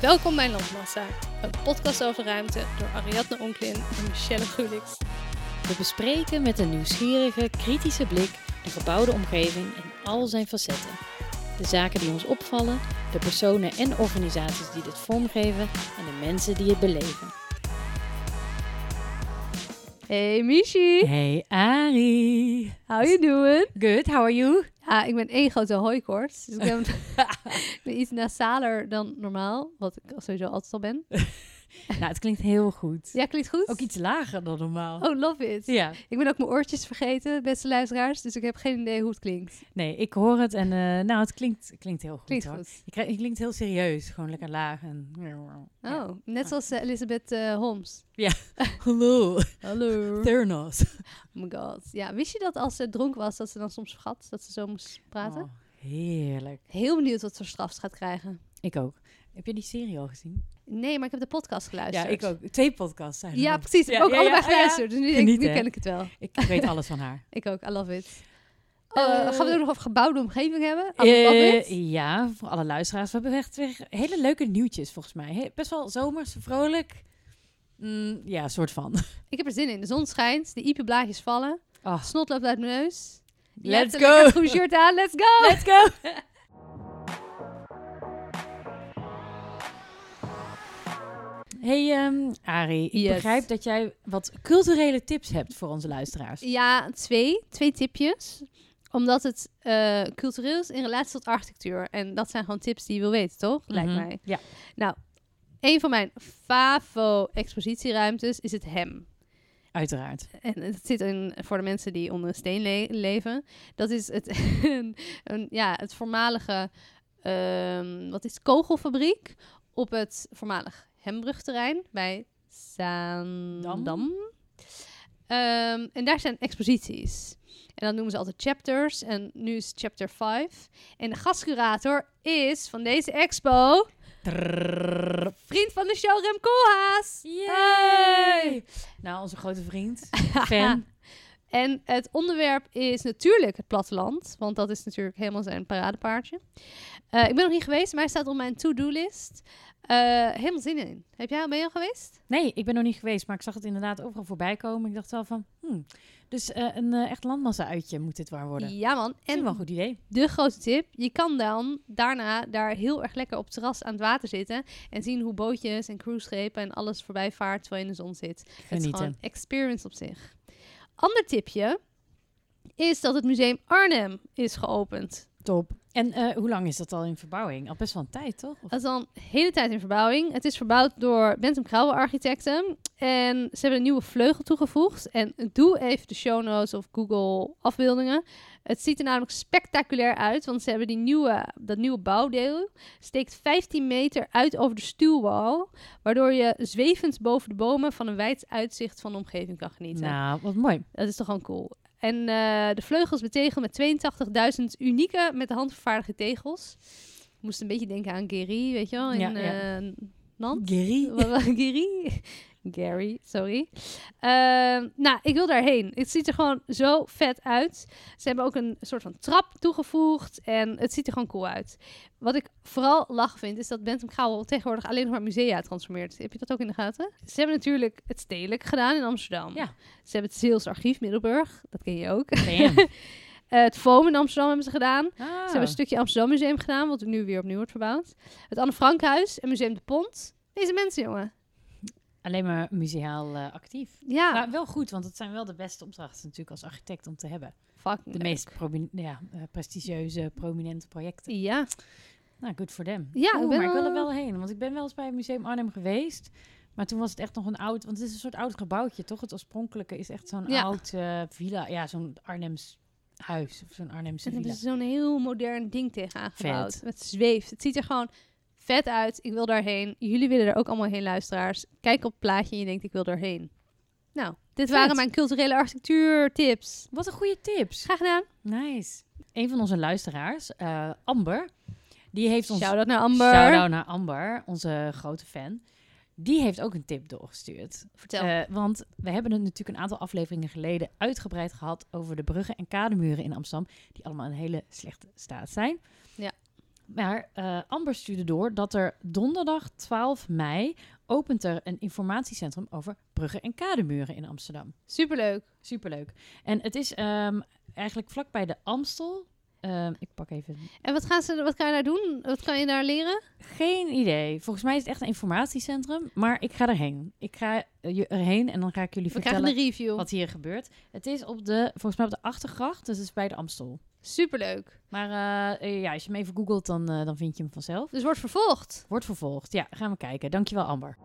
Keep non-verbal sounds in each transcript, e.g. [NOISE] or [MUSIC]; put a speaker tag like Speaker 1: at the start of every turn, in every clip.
Speaker 1: Welkom bij Landmassa, een podcast over ruimte door Ariadne Onklin en Michelle Gulix.
Speaker 2: We bespreken met een nieuwsgierige, kritische blik de gebouwde omgeving in al zijn facetten. De zaken die ons opvallen, de personen en organisaties die dit vormgeven en de mensen die het beleven.
Speaker 1: Hey Michi,
Speaker 2: Hey Ari.
Speaker 1: how you doing?
Speaker 2: Good, how are you?
Speaker 1: Ah, ik ben één grote hooikoorts, dus ik ben, [LAUGHS] ik ben iets nasaler dan normaal, wat ik sowieso altijd al ben.
Speaker 2: [LAUGHS] Nou, het klinkt heel goed.
Speaker 1: Ja, klinkt goed?
Speaker 2: Ook iets lager dan normaal.
Speaker 1: Oh, love it.
Speaker 2: Ja,
Speaker 1: Ik ben ook mijn oortjes vergeten, beste luisteraars, dus ik heb geen idee hoe het klinkt.
Speaker 2: nee, ik hoor het en eh, nou, het klinkt, klinkt heel goed.
Speaker 1: Klinkt
Speaker 2: hoor.
Speaker 1: goed.
Speaker 2: Je, krijgt- je klinkt heel serieus, gewoon lekker laag en... Ja.
Speaker 1: Oh, net zoals eh, Elizabeth eh, Holmes.
Speaker 2: Hallo,
Speaker 1: Hallo.
Speaker 2: Thernos.
Speaker 1: Oh my god. Ja, wist je dat als ze dronken was, dat ze dan soms vergat dat ze zo moest praten?
Speaker 2: Oh, heerlijk.
Speaker 1: Heel benieuwd wat voor straf ze gaat krijgen.
Speaker 2: Ik ook. Heb je die serie al gezien?
Speaker 1: Nee, maar ik heb de podcast geluisterd.
Speaker 2: ook. Twee podcasts zijn er
Speaker 1: Ah, Ja,
Speaker 2: nog.
Speaker 1: precies. Ik heb ook
Speaker 2: ja,
Speaker 1: allebei
Speaker 2: ja,
Speaker 1: geluisterd. Dus nu, denk ik,
Speaker 2: Geniet,
Speaker 1: nu
Speaker 2: hè?
Speaker 1: ken ik het wel.
Speaker 2: ja. Ik weet alles van
Speaker 1: [LAUGHS]
Speaker 2: haar.
Speaker 1: Ik ook. I love it.
Speaker 2: Eh,
Speaker 1: Oh, gaan we het ook nog over gebouwde omgeving hebben? I love
Speaker 2: Eh,
Speaker 1: it.
Speaker 2: ja, voor alle luisteraars. We hebben echt weer hele leuke nieuwtjes volgens mij. He- best wel zomers, vrolijk. Mm, ja, soort van.
Speaker 1: Ik heb er zin in. De zon schijnt. De iepe blaadjes vallen.
Speaker 2: Ah,
Speaker 1: Snot loopt uit mijn neus. Je hebt
Speaker 2: let's
Speaker 1: een lekker
Speaker 2: go!
Speaker 1: groen shirt aan. Let's
Speaker 2: [LAUGHS]
Speaker 1: go!
Speaker 2: Let's go! Hey ehm Ari, ik
Speaker 1: Yes.
Speaker 2: begrijp dat jij wat culturele tips hebt voor onze luisteraars.
Speaker 1: Ja, twee. Twee tipjes. Omdat het eh, cultureel is in relatie tot architectuur. En dat zijn gewoon tips die je wil weten, toch? Lijkt
Speaker 2: Mhm.
Speaker 1: mij.
Speaker 2: Ja.
Speaker 1: Een van mijn favo-expositieruimtes is het hem.
Speaker 2: Uiteraard.
Speaker 1: En het zit in, voor de mensen die onder een steen le- leven. Dat is het, [LAUGHS] een, een- ja, het voormalige ehm, wat is het, kogelfabriek op het voormalig Hembrugterrein bij Zaandam. Ehm, en daar zijn exposities. En dat noemen ze altijd chapters. En nu is chapter 5. En de gastcurator is van deze expo
Speaker 2: Trrrr.
Speaker 1: vriend van de show Rem Koolhaas.
Speaker 2: Yay! Nou, onze grote vriend,
Speaker 1: [LAUGHS]
Speaker 2: fan.
Speaker 1: En het onderwerp is natuurlijk het platteland, want dat is natuurlijk helemaal zijn paradepaardje. Eh, ik ben nog niet geweest, maar hij staat op mijn to-do-list. Eh, helemaal zin in. Heb jij, ben je al geweest?
Speaker 2: Nee, ik ben nog niet geweest, maar ik zag het inderdaad overal voorbij komen. Ik dacht wel van, hmm, dus eh, een eh, echt landmassa-uitje moet dit waar worden.
Speaker 1: Ja man.
Speaker 2: En wel een
Speaker 1: En
Speaker 2: goed idee.
Speaker 1: de grote tip, je kan dan daarna daar heel erg lekker op het terras aan het water zitten en zien hoe bootjes en cruiseschepen en alles voorbij vaart terwijl je in de zon zit. Het is
Speaker 2: Genieten.
Speaker 1: gewoon experience op zich. Ander tipje is dat het museum Arnhem is geopend.
Speaker 2: Top. En eh, hoe lang is dat al in verbouwing? Al best wel een tijd, toch? Of-
Speaker 1: Dat is al een hele tijd in verbouwing. Het is verbouwd door Bentham Krauwe Architecten. En ze hebben een nieuwe vleugel toegevoegd. En doe even de show notes of Google afbeeldingen. Het ziet er namelijk spectaculair uit. Want ze hebben die nieuwe, dat nieuwe bouwdeel. Steekt 15 meter uit over de stuwwal. Waardoor je zwevend boven de bomen van een wijd uitzicht van de omgeving kan genieten.
Speaker 2: nou, wat mooi.
Speaker 1: Dat is toch gewoon cool. En eh, de vleugels betegeld met 82.000 unieke met de hand vervaardigde tegels. Ik moest een beetje denken aan Gary, weet je wel, in eh,
Speaker 2: Ja,
Speaker 1: ja,
Speaker 2: ja.
Speaker 1: Nant.
Speaker 2: Gary.
Speaker 1: Wat was- Gary? Gary, sorry. Ehm, nou, ik wil daarheen. Het ziet er gewoon zo vet uit. Ze hebben ook een soort van trap toegevoegd. En het ziet er gewoon cool uit. Wat ik vooral lach vind, is dat Bentham Gouwel tegenwoordig alleen nog maar musea transformeert. Heb je dat ook in de gaten? Ze hebben natuurlijk het stedelijk gedaan in Amsterdam.
Speaker 2: Ja.
Speaker 1: Ze hebben het Zeels Archief Middelburg. Dat ken je ook.
Speaker 2: Damn.
Speaker 1: Eh, het FOAM in Amsterdam hebben ze gedaan.
Speaker 2: Ah.
Speaker 1: Ze hebben een stukje Amsterdam Museum gedaan, wat nu weer opnieuw wordt verbouwd. Het Anne Frankhuis en Museum de Pont. Deze mensen, jongen.
Speaker 2: Alleen maar museaal eh, actief.
Speaker 1: Ja,
Speaker 2: Maar wel goed, want het zijn wel de beste opdrachten natuurlijk als architect om te hebben.
Speaker 1: fucking
Speaker 2: De
Speaker 1: leuk.
Speaker 2: meest promi- ja, eh, prestigieuze, prominente projecten.
Speaker 1: Ja,
Speaker 2: Nou, good for them.
Speaker 1: Ja, ik
Speaker 2: Oeh,
Speaker 1: ben
Speaker 2: maar ik wil er
Speaker 1: wel-
Speaker 2: wel heen. Want ik ben wel eens bij het Museum Arnhem geweest. Maar toen was het echt nog een oud... Want het is een soort oud gebouwtje, toch? Het oorspronkelijke is echt zo'n
Speaker 1: Ja.
Speaker 2: oud eh, villa. Ja, zo'n Arnhems huis. Of zo'n Arnhemse
Speaker 1: en er
Speaker 2: villa.
Speaker 1: is zo'n heel modern ding tegenaan gebouwd. Het zweeft. Het ziet er gewoon vet uit. Ik wil daarheen. Jullie willen er ook allemaal heen, luisteraars. Kijk op het plaatje en je denkt, ik wil daarheen. Nou, dit
Speaker 2: Vet.
Speaker 1: waren mijn culturele architectuurtips.
Speaker 2: Wat een goede tips.
Speaker 1: Graag gedaan.
Speaker 2: Nice. Een van onze luisteraars, eh, Amber... Die heeft ons...
Speaker 1: Shout-out naar Amber.
Speaker 2: Shout-out naar Amber, onze grote fan. Die heeft ook een tip doorgestuurd.
Speaker 1: Vertel.
Speaker 2: Eh, want we hebben het natuurlijk een aantal afleveringen geleden uitgebreid gehad over de bruggen en kademuren in Amsterdam, die allemaal in hele slechte staat zijn.
Speaker 1: Ja.
Speaker 2: Maar eh, Amber stuurde door dat er donderdag 12 mei opent er een informatiecentrum over bruggen en kademuren in Amsterdam.
Speaker 1: Superleuk.
Speaker 2: Superleuk. En het is ehm, eigenlijk vlakbij de Amstel. Ehm, ik pak even.
Speaker 1: En wat, gaan ze, wat kan je daar doen? Wat kan je daar leren?
Speaker 2: Geen idee. Volgens mij is het echt een informatiecentrum. Maar ik ga erheen. Ik ga eh, je erheen en dan ga ik jullie
Speaker 1: We krijgen een
Speaker 2: vertellen
Speaker 1: review.
Speaker 2: wat hier gebeurt. Het is op de, volgens mij op de Achtergracht. Dus het is bij de Amstel.
Speaker 1: Superleuk.
Speaker 2: Maar eh, eh, ja, als je hem even googelt, dan, eh, dan vind je hem vanzelf.
Speaker 1: Dus wordt vervolgd.
Speaker 2: Wordt vervolgd. Ja, gaan we kijken. Dankjewel, Amber.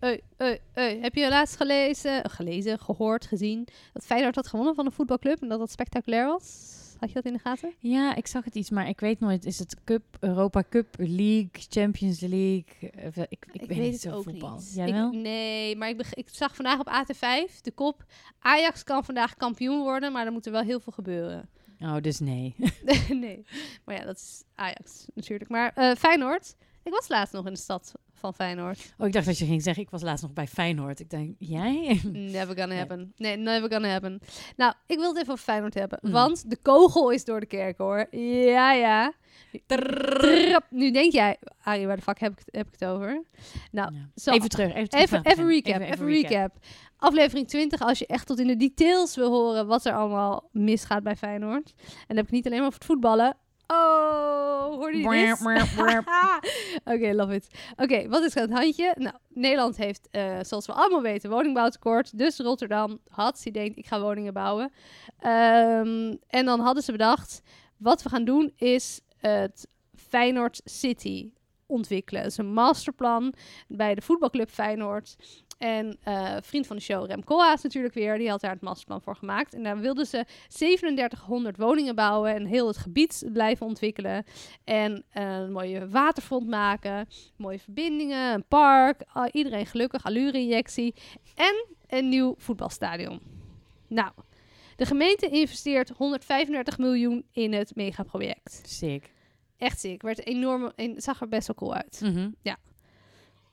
Speaker 1: Ui, ui, ui. Heb je laatst gelezen, gelezen, gehoord, gezien... dat Feyenoord had gewonnen van een voetbalclub... en dat dat spectaculair was? Had je dat in de gaten?
Speaker 2: Ja, ik zag het iets, maar ik weet nooit. Is het Cup, Europa Cup, League, Champions League? Eh, ik, ik, ben niet zo voetbal. Jij wel?
Speaker 1: Ik, nee, maar ik, beg- ik zag vandaag op AT5 de kop... Ajax kan vandaag kampioen worden, maar er moet er wel heel veel gebeuren. [LAUGHS]
Speaker 2: Oh, dus nee. [LAUGHS]
Speaker 1: nee, maar ja, dat is Ajax natuurlijk. Maar eh, Feyenoord, ik was laatst nog in de stad van
Speaker 2: [LAUGHS]
Speaker 1: Feyenoord.
Speaker 2: Oh, ik dacht dat je ging zeggen, ik was laatst nog bij Feyenoord. Ik denk, jij? [LAUGHS]
Speaker 1: Never gonna
Speaker 2: Nee.
Speaker 1: happen. Nee, never gonna happen. Nou, ik wil het even over Feyenoord hebben,
Speaker 2: Mm.
Speaker 1: want de kogel is door de kerk hoor. Ja, ja. Trap. Nu denk jij, Arie, waar de fuck heb ik, het- heb ik het over? Nou,
Speaker 2: Ja.
Speaker 1: zo,
Speaker 2: Even terug. Even, terug
Speaker 1: even,
Speaker 2: naar het
Speaker 1: even
Speaker 2: begin.
Speaker 1: recap, even, recap. Aflevering 20, als je echt tot in de details wil horen wat er allemaal misgaat bij Feyenoord. En dan heb ik het niet alleen maar over het voetballen. Oh, hoorde je dit? [LAUGHS]
Speaker 2: [LAUGHS]
Speaker 1: Oké, love it. Oké, wat is het handje? Nou, Nederland heeft, eh, zoals we allemaal weten, woningbouwtekort. Dus Rotterdam had, die denkt, ik ga woningen bouwen. Ehm, en dan hadden ze bedacht, wat we gaan doen is het Feyenoord City ontwikkelen. Dat is een masterplan bij de voetbalclub Feyenoord. En eh, vriend van de show, Rem Koolhaas natuurlijk weer, die had daar het masterplan voor gemaakt. En daar wilden ze 3700 woningen bouwen en heel het gebied blijven ontwikkelen. En eh, een mooie waterfront maken, mooie verbindingen, een park. ah, iedereen gelukkig, allure-injectie. En een nieuw voetbalstadion. Nou, de gemeente investeert 135 miljoen in het megaproject.
Speaker 2: Sick.
Speaker 1: Echt ziek, werd enorm, en zag er best wel cool uit.
Speaker 2: Mhm.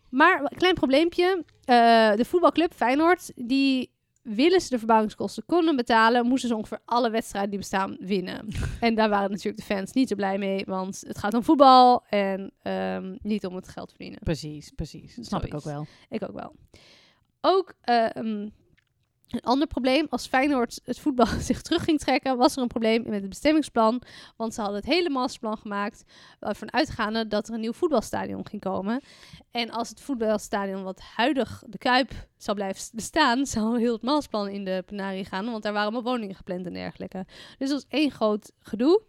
Speaker 1: Maar een klein probleempje. eh, de voetbalclub Feyenoord, die willen ze de verbouwingskosten konden betalen, moesten ze ongeveer alle wedstrijden die bestaan winnen. En daar waren natuurlijk de fans niet zo blij mee, want het gaat om voetbal en ehm, niet om het geld verdienen.
Speaker 2: Precies, precies. Dat snap ik ook
Speaker 1: Zoiets.
Speaker 2: wel.
Speaker 1: Ik ook wel. Ook eh, ehm, een ander probleem, als Feyenoord het voetbal [LAUGHS] zich terug ging trekken, was er een probleem met het bestemmingsplan. Want ze hadden het hele masterplan gemaakt, ervan uitgaande dat er een nieuw voetbalstadion ging komen. En als het voetbalstadion wat huidig de Kuip zou blijven s- bestaan, [LAUGHS] zou heel het masterplan in de penarie gaan. Want daar waren allemaal woningen gepland en dergelijke. Dus dat was één groot gedoe.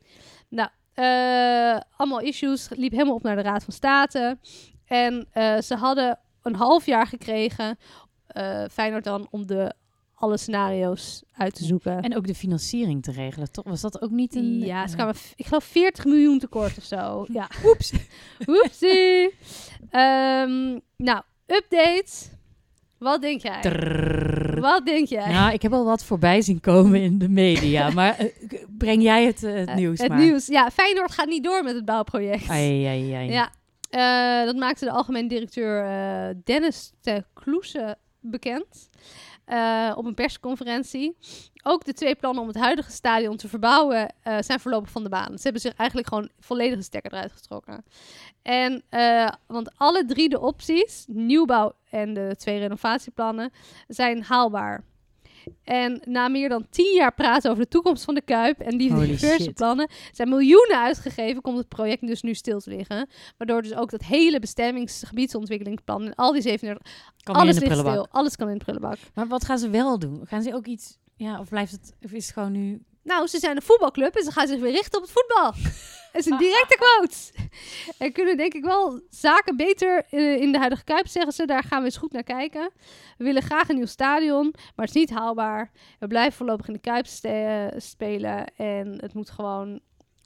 Speaker 1: Nou, eh, allemaal issues, liep helemaal op naar de Raad van State. En eh, ze hadden een half jaar gekregen, eh Feyenoord dan, om de, alle scenario's uit te zoeken.
Speaker 2: En ook de financiering te regelen, toch? Was dat ook niet een...
Speaker 1: ja, ze
Speaker 2: eh,
Speaker 1: kwamen, v- ik geloof 40 miljoen tekort of
Speaker 2: [LAUGHS]
Speaker 1: zo. Ja.
Speaker 2: Oeps.
Speaker 1: [LAUGHS] Oepsie. Ehm, nou, update. Wat denk jij?
Speaker 2: Trrrr.
Speaker 1: Wat denk jij?
Speaker 2: Nou, ik heb al wat voorbij zien komen in de
Speaker 1: [LAUGHS]
Speaker 2: media. Maar eh, k- breng jij het, eh, het
Speaker 1: Eh,
Speaker 2: nieuws
Speaker 1: het
Speaker 2: maar.
Speaker 1: nieuws. Ja, Feyenoord gaat niet door met het bouwproject.
Speaker 2: Ai, ai, ai.
Speaker 1: Ja, eh, dat maakte de algemeen directeur eh, Dennis de Kloese bekend eh, op een persconferentie. Ook de twee plannen om het huidige stadion te verbouwen eh, zijn voorlopig van de baan. Ze hebben zich eigenlijk gewoon volledige stekker eruit getrokken. En, eh, want alle drie de opties, nieuwbouw en de twee renovatieplannen, zijn haalbaar. En na meer dan tien jaar praten over de toekomst van de Kuip en die
Speaker 2: Holy
Speaker 1: diverse
Speaker 2: shit.
Speaker 1: plannen, zijn miljoenen uitgegeven, komt het project dus nu stil te liggen. Waardoor dus ook dat hele bestemmingsgebiedsontwikkelingsplan en al die 37...
Speaker 2: Kan
Speaker 1: alles
Speaker 2: in de
Speaker 1: ligt
Speaker 2: prullenbak.
Speaker 1: stil, alles kan in de prullenbak.
Speaker 2: Maar wat gaan ze wel doen? Gaan ze ook iets... Ja, of blijft het... Of is het gewoon nu...
Speaker 1: Nou, ze zijn een voetbalclub en ze gaan zich weer richten op het
Speaker 2: [LAUGHS]
Speaker 1: voetbal. Dat is een directe quote. En kunnen denk ik wel zaken beter eh, in de huidige Kuip, zeggen ze. Daar gaan we eens goed naar kijken. We willen graag een nieuw stadion, maar het is niet haalbaar. We blijven voorlopig in de Kuip ste- eh, spelen. En het moet gewoon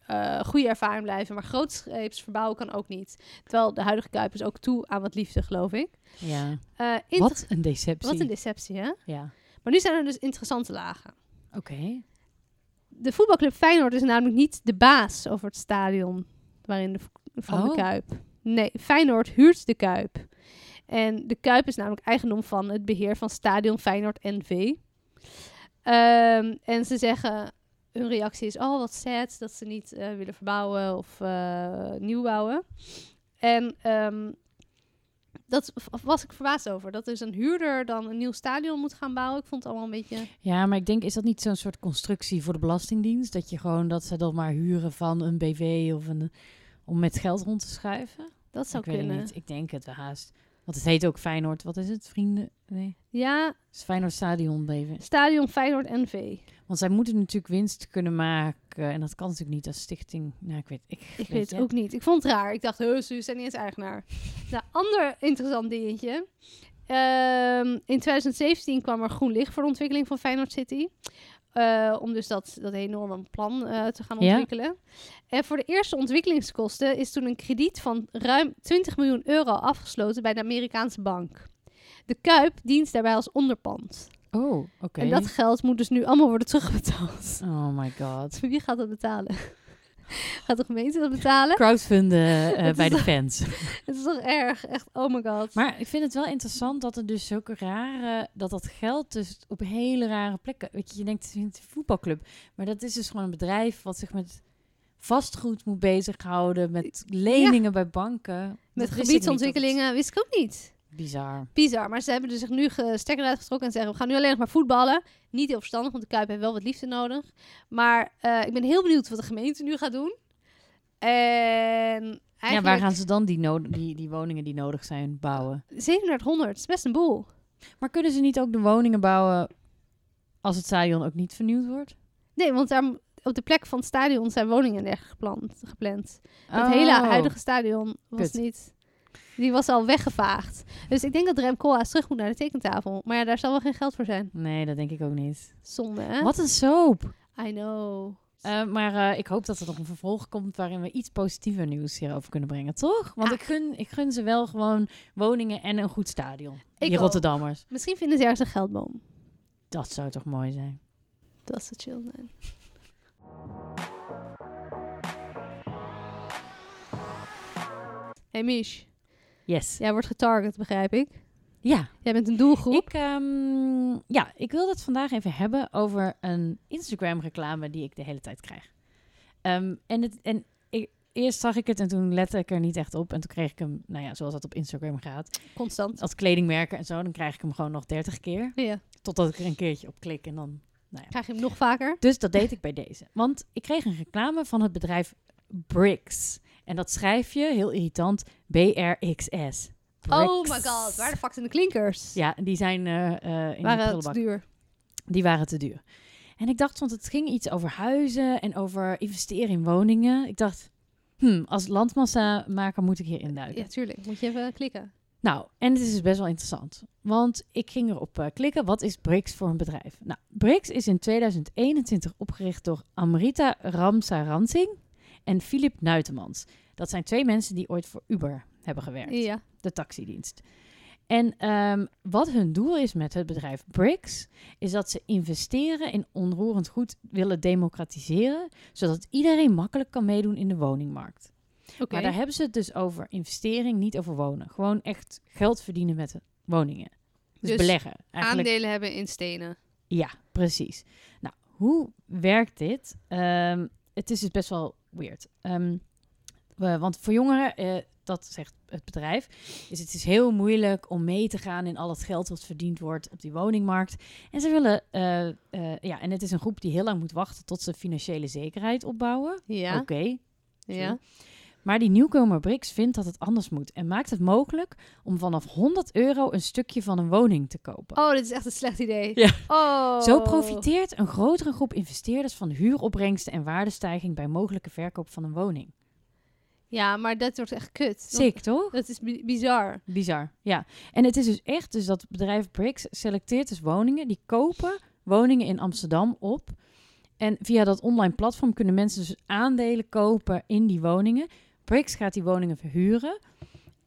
Speaker 1: eh goede ervaring blijven. Maar grootscheeps verbouwen kan ook niet. Terwijl de huidige Kuip is ook toe aan wat liefde, geloof ik.
Speaker 2: Ja.
Speaker 1: Eh, inter-
Speaker 2: Wat een deceptie.
Speaker 1: wat een deceptie, hè?
Speaker 2: Ja.
Speaker 1: Maar nu zijn er dus interessante lagen.
Speaker 2: Oké.
Speaker 1: De voetbalclub Feyenoord is namelijk niet de baas over het stadion waarin de, van de
Speaker 2: Oh.
Speaker 1: Kuip. Nee, Feyenoord huurt de Kuip. En de Kuip is namelijk eigendom van het beheer van Stadion Feyenoord NV. Ehm, en ze zeggen, hun reactie is, oh wat sad dat ze niet eh, willen verbouwen of eh, nieuw bouwen. En ehm, dat v- was ik verbaasd over. Dat dus een huurder dan een nieuw stadion moet gaan bouwen. Ik vond het allemaal een beetje...
Speaker 2: Ja, maar ik denk, is dat niet zo'n soort constructie voor de Belastingdienst? Dat je gewoon dat ze dan maar huren van een BV of een. om met geld rond te schuiven?
Speaker 1: Dat zou
Speaker 2: ik weet het
Speaker 1: kunnen.
Speaker 2: niet. Ik denk het wel haast. Want het heet ook Feyenoord. Wat is het? Vrienden? Nee.
Speaker 1: Ja,
Speaker 2: Het is Feyenoord Stadion BV.
Speaker 1: Stadion Feyenoord NV.
Speaker 2: Want zij moeten natuurlijk winst kunnen maken. En dat kan natuurlijk niet als stichting. Nou, ik weet, ik,
Speaker 1: Ik weet
Speaker 2: je.
Speaker 1: het ook niet. Ik vond het raar. Ik dacht, heus, ze zijn niet eens eigenaar.
Speaker 2: [LAUGHS]
Speaker 1: nou, ander interessant dingetje. Ehm, in 2017 kwam er groen licht voor de ontwikkeling van Feyenoord City. Eh, om dus dat, dat enorme plan eh, te gaan
Speaker 2: Ja.
Speaker 1: ontwikkelen. En voor de eerste ontwikkelingskosten is toen een krediet van ruim 20 miljoen euro afgesloten bij de Amerikaanse bank. De Kuip dient daarbij als onderpand.
Speaker 2: Oh, oké.
Speaker 1: En dat geld moet dus nu allemaal worden terugbetaald.
Speaker 2: Oh my
Speaker 1: [LAUGHS]
Speaker 2: god.
Speaker 1: Wie gaat dat betalen? gaat de gemeente dat betalen?
Speaker 2: Crowdfunden eh,
Speaker 1: Het is
Speaker 2: bij de
Speaker 1: toch-
Speaker 2: fans.
Speaker 1: Het is toch erg? Echt, oh my god.
Speaker 2: Maar ik vind het wel interessant dat er dus zulke rare... dat dat geld dus op hele rare plekken... Weet je, je denkt, het is een voetbalclub. Maar dat is dus gewoon een bedrijf wat zich met vastgoed moet bezighouden... met leningen bij banken. Dat wist
Speaker 1: Met
Speaker 2: ik niet,
Speaker 1: gebiedsontwikkelingen wist ik ook niet.
Speaker 2: dat is Bizar.
Speaker 1: Bizar. Maar ze hebben er zich nu ge- stekker uitgetrokken en zeggen: we gaan nu alleen nog maar voetballen. Niet heel verstandig, want de Kuip heeft wel wat liefde nodig. Maar eh, ik ben heel benieuwd wat de gemeente nu gaat doen. En eigenlijk
Speaker 2: Ja, waar gaan ze dan die, no- die, die woningen die nodig zijn bouwen?
Speaker 1: 3700, dat is best een boel.
Speaker 2: Maar kunnen ze niet ook de woningen bouwen... als het stadion ook niet vernieuwd wordt?
Speaker 1: Nee, want daar, op de plek van het stadion zijn woningen en dergelijke gepland, gepland.
Speaker 2: Oh.
Speaker 1: Het hele huidige stadion was
Speaker 2: Kut.
Speaker 1: niet. Die was al weggevaagd. Dus ik denk dat Rem Koolhaas terug moet naar de tekentafel. Maar ja, daar zal wel geen geld voor zijn.
Speaker 2: Nee, dat denk ik ook niet.
Speaker 1: Zonde, hè?
Speaker 2: Wat een soap!
Speaker 1: I know.
Speaker 2: Eh, maar eh, ik hoop dat er nog een vervolg komt waarin we iets positiever nieuws hierover kunnen brengen, toch? Want
Speaker 1: Ja.
Speaker 2: ik, gun, ik gun ze wel gewoon woningen en een goed stadion.
Speaker 1: Ik
Speaker 2: die
Speaker 1: ook.
Speaker 2: Rotterdammers.
Speaker 1: Misschien vinden ze ergens een geldboom.
Speaker 2: Dat zou toch mooi zijn.
Speaker 1: Dat zou chill zijn. Hey Mish,
Speaker 2: Yes. Ja,
Speaker 1: jij wordt getarget, begrijp ik. Jij bent een doelgroep.
Speaker 2: ik, ehm, ja ik wil het vandaag even hebben over een Instagram reclame die ik de hele tijd krijg. Ehm, en het, en ik, eerst zag ik het en toen lette ik er niet echt op. En toen kreeg ik hem, nou ja, zoals dat op Instagram gaat,
Speaker 1: Constant.
Speaker 2: als kledingmerken en zo, dan krijg ik hem gewoon nog 30 keer.
Speaker 1: Ja.
Speaker 2: Totdat ik er een keertje op klik en dan
Speaker 1: Krijg je hem nog vaker?
Speaker 2: Dus dat deed ik bij deze. Want ik kreeg een reclame van het bedrijf Bricks. En dat schrijf je, heel irritant, B-R-X-S.
Speaker 1: Oh
Speaker 2: Bricks.
Speaker 1: my god, waar de fuck zijn de klinkers?
Speaker 2: Ja, die zijn eh, eh, in de
Speaker 1: Waren het
Speaker 2: prullenbak.
Speaker 1: duur?
Speaker 2: Die waren te duur. En ik dacht, want het ging iets over huizen en over investeren in woningen. Ik dacht, hmm, als landmassamaker moet ik hier induiken.
Speaker 1: Ja, tuurlijk. Moet je even klikken.
Speaker 2: Nou, en dit is dus best wel interessant. Want ik ging erop eh, klikken, wat is BRICS voor een bedrijf? Nou, BRICS is in 2021 opgericht door Amrita Ramsaransing en Filip Nuitemans. Dat zijn twee mensen die ooit voor Uber hebben gewerkt,
Speaker 1: Ja.
Speaker 2: de taxidienst. En ehm, wat hun doel is met het bedrijf BRICS, is dat ze investeren in onroerend goed willen democratiseren, zodat iedereen makkelijk kan meedoen in de woningmarkt.
Speaker 1: Oké.
Speaker 2: Maar daar hebben ze het dus over investering, niet over wonen. Gewoon echt geld verdienen met de woningen. Dus,
Speaker 1: Dus
Speaker 2: beleggen. Eigenlijk.
Speaker 1: Aandelen hebben in stenen.
Speaker 2: Ja, precies. Nou, hoe werkt dit? Ehm, het is dus best wel weird. Ehm, we- want voor jongeren, eh, dat zegt het bedrijf, is het is heel moeilijk om mee te gaan in al het geld wat verdiend wordt op die woningmarkt. En ze willen, eh, eh, ja, en het is een groep die heel lang moet wachten tot ze financiële zekerheid opbouwen.
Speaker 1: Ja.
Speaker 2: Oké,
Speaker 1: ja.
Speaker 2: maar die nieuwkomer Brix vindt dat het anders moet en maakt het mogelijk om vanaf 100 euro een stukje van een woning te kopen.
Speaker 1: Oh, dit is echt een slecht idee.
Speaker 2: Ja.
Speaker 1: Oh.
Speaker 2: Zo profiteert een grotere groep investeerders van huuropbrengsten en waardestijging bij mogelijke verkoop van een woning.
Speaker 1: Ja, maar dat wordt echt kut. Want
Speaker 2: Sick, toch?
Speaker 1: Dat is bi- bizar.
Speaker 2: Bizar, ja. En het is dus echt dus dat bedrijf Brix selecteert dus woningen, die kopen woningen in Amsterdam op. En via dat online platform kunnen mensen dus aandelen kopen in die woningen. Brix gaat die woningen verhuren.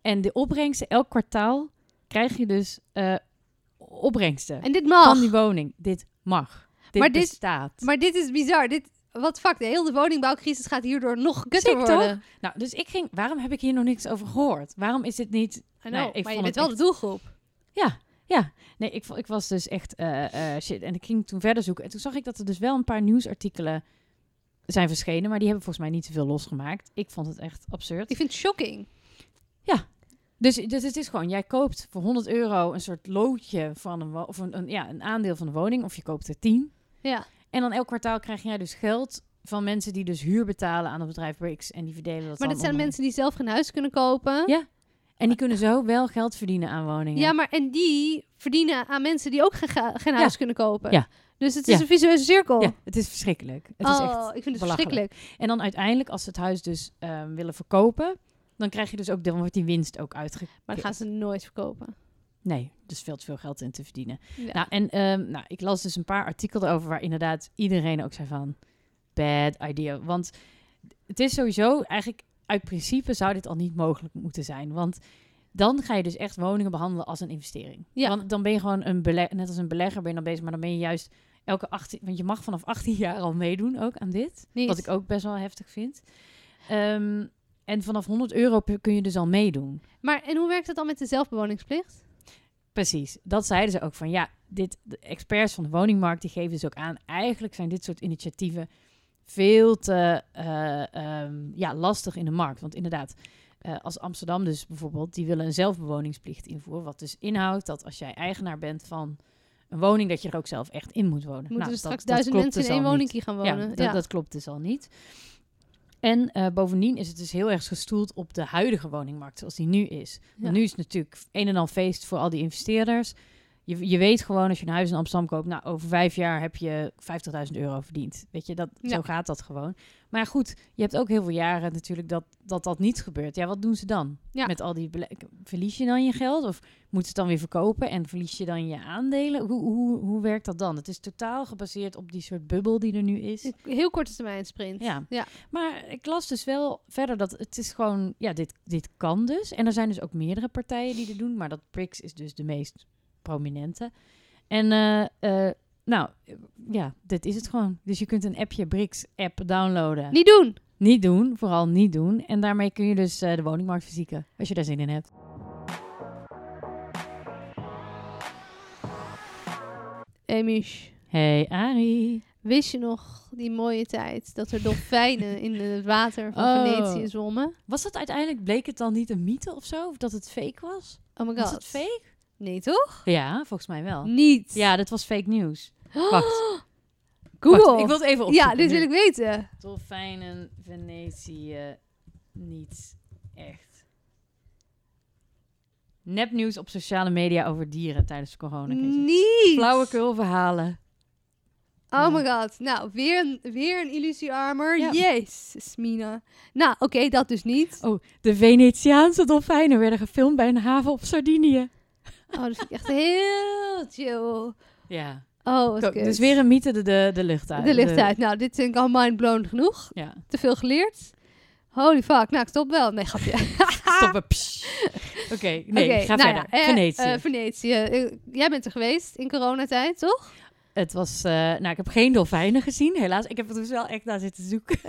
Speaker 2: En de opbrengsten, elk kwartaal krijg je dus eh, opbrengsten
Speaker 1: En dit mag.
Speaker 2: van die woning. Dit mag. Dit
Speaker 1: Maar dit-
Speaker 2: bestaat.
Speaker 1: Maar dit is bizar. Dit, wat fuck, de hele woningbouwcrisis gaat hierdoor nog kutter
Speaker 2: Sick,
Speaker 1: worden.
Speaker 2: Nou, dus ik ging, waarom heb ik hier nog niks over gehoord? Waarom is dit niet
Speaker 1: I know,
Speaker 2: Nee, ik
Speaker 1: maar je
Speaker 2: vond
Speaker 1: bent
Speaker 2: het
Speaker 1: wel de doelgroep.
Speaker 2: Ja, Ja, nee, ik, vo- ik was dus echt eh, eh, shit. En ik ging toen verder zoeken. En toen zag ik dat er dus wel een paar nieuwsartikelen zijn verschenen. Maar die hebben volgens mij niet zoveel losgemaakt. Ik vond het echt absurd.
Speaker 1: Ik vind het shocking.
Speaker 2: Dus, dus het is gewoon, jij koopt voor 100 euro een soort loodje van een, wo- of een, een- ja, een aandeel van een woning. Of je koopt er 10.
Speaker 1: Ja.
Speaker 2: En dan elk kwartaal krijg jij dus geld van mensen die dus huur betalen aan het bedrijf Brix. En die verdelen dat
Speaker 1: Maar
Speaker 2: dan
Speaker 1: dat zijn
Speaker 2: onder-
Speaker 1: mensen die zelf geen huis kunnen kopen.
Speaker 2: Ja, En die kunnen zo wel geld verdienen aan woningen.
Speaker 1: Ja, maar en die verdienen aan mensen die ook geen, ga- geen huis kunnen kopen.
Speaker 2: Ja.
Speaker 1: Dus het is
Speaker 2: Ja.
Speaker 1: een visueuze cirkel.
Speaker 2: Ja, het is verschrikkelijk. Het is echt
Speaker 1: oh, ik vind het verschrikkelijk.
Speaker 2: En dan uiteindelijk, als ze het huis dus ehm, willen verkopen, dan krijg je dus ook, dan wordt die winst ook uitge...
Speaker 1: Maar dat gaan ze nooit verkopen.
Speaker 2: Nee, dus veel te veel geld in te verdienen.
Speaker 1: Ja.
Speaker 2: Nou, en ehm, nou, ik las dus een paar artikelen erover waar inderdaad iedereen ook zei van, bad idea. Want het is sowieso, eigenlijk uit principe zou dit al niet mogelijk moeten zijn. Want dan ga je dus echt woningen behandelen als een investering.
Speaker 1: Ja.
Speaker 2: Want dan ben je gewoon een belegger, net als een belegger ben je dan bezig, maar dan ben je juist elke 18, want je mag vanaf 18 [LAUGHS] jaar al meedoen ook aan dit.
Speaker 1: Niet.
Speaker 2: Wat ik ook best wel heftig vind. Ehm, en vanaf 100 euro per- kun je dus al meedoen.
Speaker 1: Maar en hoe werkt het dan met de zelfbewoningsplicht?
Speaker 2: Nou, Precies. Dat zeiden ze ook van ja, dit, de experts van de woningmarkt die geven dus ook aan. Eigenlijk zijn dit soort initiatieven veel te eh, ehm, ja, lastig in de markt. Want inderdaad, eh, als Amsterdam dus bijvoorbeeld, die willen een zelfbewoningsplicht invoeren. Wat dus inhoudt dat als jij eigenaar bent van een woning, dat je er ook zelf echt in moet wonen.
Speaker 1: Moeten
Speaker 2: Nou,
Speaker 1: er
Speaker 2: dat-
Speaker 1: straks
Speaker 2: dat
Speaker 1: duizend
Speaker 2: klopt
Speaker 1: mensen in
Speaker 2: dus
Speaker 1: één
Speaker 2: al niet.
Speaker 1: woningkie gaan wonen?
Speaker 2: Ja, dat, dat klopt dus al niet. En eh, bovendien is het dus heel erg gestoeld op de huidige woningmarkt zoals die nu is.
Speaker 1: Ja.
Speaker 2: Want nu is het natuurlijk een en al feest voor al die investeerders. Je, je weet gewoon als je een huis in Amsterdam koopt, nou over vijf jaar heb je 50.000 euro verdiend. Weet je, dat,
Speaker 1: Ja.
Speaker 2: zo gaat dat gewoon. Maar goed, je hebt ook heel veel jaren natuurlijk dat dat, dat niet gebeurt. Ja, wat doen ze dan?
Speaker 1: Ja.
Speaker 2: Met al die bele- verlies je dan je geld of moet het dan weer verkopen en verlies je dan je aandelen? Hoe, hoe, hoe werkt dat dan? Het is totaal gebaseerd op die soort bubbel die er nu is.
Speaker 1: Een Heel korte termijn sprint.
Speaker 2: Ja.
Speaker 1: Ja.
Speaker 2: Maar ik las dus wel verder dat het is gewoon, ja, dit, dit kan dus. En er zijn dus ook meerdere partijen die dit doen, maar dat Prix is dus de meest prominente. En eh, eh, nou, eh, ja, dit is het gewoon. Dus je kunt een appje, Brix-app, downloaden.
Speaker 1: Niet doen.
Speaker 2: Niet doen, vooral niet doen. En daarmee kun je dus eh, de woningmarkt verzieken, als je daar zin in hebt.
Speaker 1: Emish,
Speaker 2: Hey Ari.
Speaker 1: wist je nog die mooie tijd dat er dolfijnen in het water van
Speaker 2: Oh.
Speaker 1: Venetië zwommen?
Speaker 2: Was dat uiteindelijk, bleek het dan niet een mythe of zo? Of dat het fake was?
Speaker 1: Oh my god.
Speaker 2: Was het fake?
Speaker 1: Nee toch?
Speaker 2: Ja, volgens mij wel.
Speaker 1: Niet.
Speaker 2: Ja, dat was fake nieuws. Wacht. [GASPS]
Speaker 1: Google.
Speaker 2: Wacht, ik wil het even opzoeken.
Speaker 1: ja, dit
Speaker 2: nu. Oh,
Speaker 1: wil ik weten.
Speaker 2: Dolfijnen, Venetië, niet echt. Nepnieuws op sociale media over dieren tijdens de coronacrisis.
Speaker 1: Niet.
Speaker 2: Flauwekul verhalen.
Speaker 1: Oh
Speaker 2: Ja.
Speaker 1: my god. Nou, weer een, weer een illusiearmer.
Speaker 2: Ja.
Speaker 1: Jezus, Mina. Nou, oké, dat dus niet.
Speaker 2: De Venetiaanse dolfijnen werden gefilmd bij een haven op Sardinië.
Speaker 1: Oh, dat vind ik echt heel chill.
Speaker 2: Ja.
Speaker 1: Oh, wat
Speaker 2: Ko-
Speaker 1: kut.
Speaker 2: Dus weer een mythe de, de, de lucht uit.
Speaker 1: De licht uit. Nou, dit vind ik al mindblown genoeg.
Speaker 2: Ja.
Speaker 1: Te veel geleerd. Holy fuck. Nou, ik stop wel. Nee,
Speaker 2: [LAUGHS]
Speaker 1: grapje.
Speaker 2: Stoppen. Psst. Oké, nee,
Speaker 1: Oké,
Speaker 2: ga
Speaker 1: nou
Speaker 2: verder.
Speaker 1: ja, eh,
Speaker 2: Venetië.
Speaker 1: eh, Venetië. Eh, jij bent er geweest in coronatijd, toch?
Speaker 2: Het was, eh, nou, ik heb geen dolfijnen gezien, helaas. Ik heb er dus wel echt naar zitten
Speaker 1: [LAUGHS]
Speaker 2: zoeken.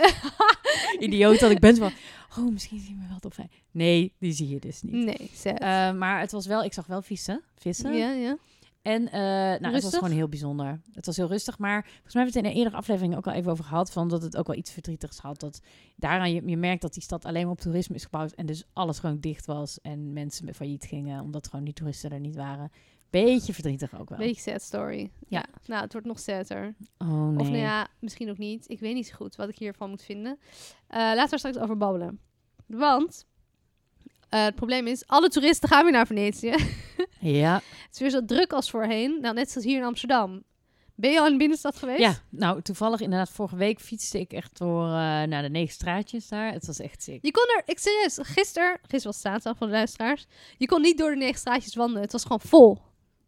Speaker 2: Idioot dat ik ben. zo Van, oh, misschien zien we wel dolfijnen. Nee, die zie je dus niet.
Speaker 1: Nee, zeg.
Speaker 2: Eh, maar het was wel, ik zag wel vissen. vissen.
Speaker 1: ja, ja.
Speaker 2: En eh, nou, het was
Speaker 1: Rustig?
Speaker 2: gewoon heel bijzonder. Het was heel rustig, maar volgens mij hebben we het in een eerdere aflevering ook al even over gehad. Van dat het ook wel iets verdrietigs had. Dat daaraan je, je merkt dat die stad alleen maar op toerisme is gebouwd. En dus alles gewoon dicht was. En mensen failliet gingen, omdat gewoon die toeristen er niet waren. Beetje verdrietig ook wel.
Speaker 1: Beetje sad story.
Speaker 2: Ja.
Speaker 1: Nou, het wordt nog sadder.
Speaker 2: Oh nee.
Speaker 1: Of nou ja, misschien ook niet. Ik weet niet zo goed wat ik hiervan moet vinden. Eh, laten we er straks over babbelen. Want eh, het probleem is, alle toeristen gaan weer naar Venetië.
Speaker 2: ja.
Speaker 1: het is weer zo druk als voorheen. Nou, net zoals hier in Amsterdam. Ben je al in de binnenstad geweest?
Speaker 2: Ja, nou toevallig inderdaad, vorige week fietste ik echt door eh, naar de negen straatjes daar. Het was echt sick.
Speaker 1: Je kon er, ik serieus, gisteren, gisteren was zaterdag van de luisteraars. Je kon niet door de negen straatjes wandelen. Het was gewoon vol.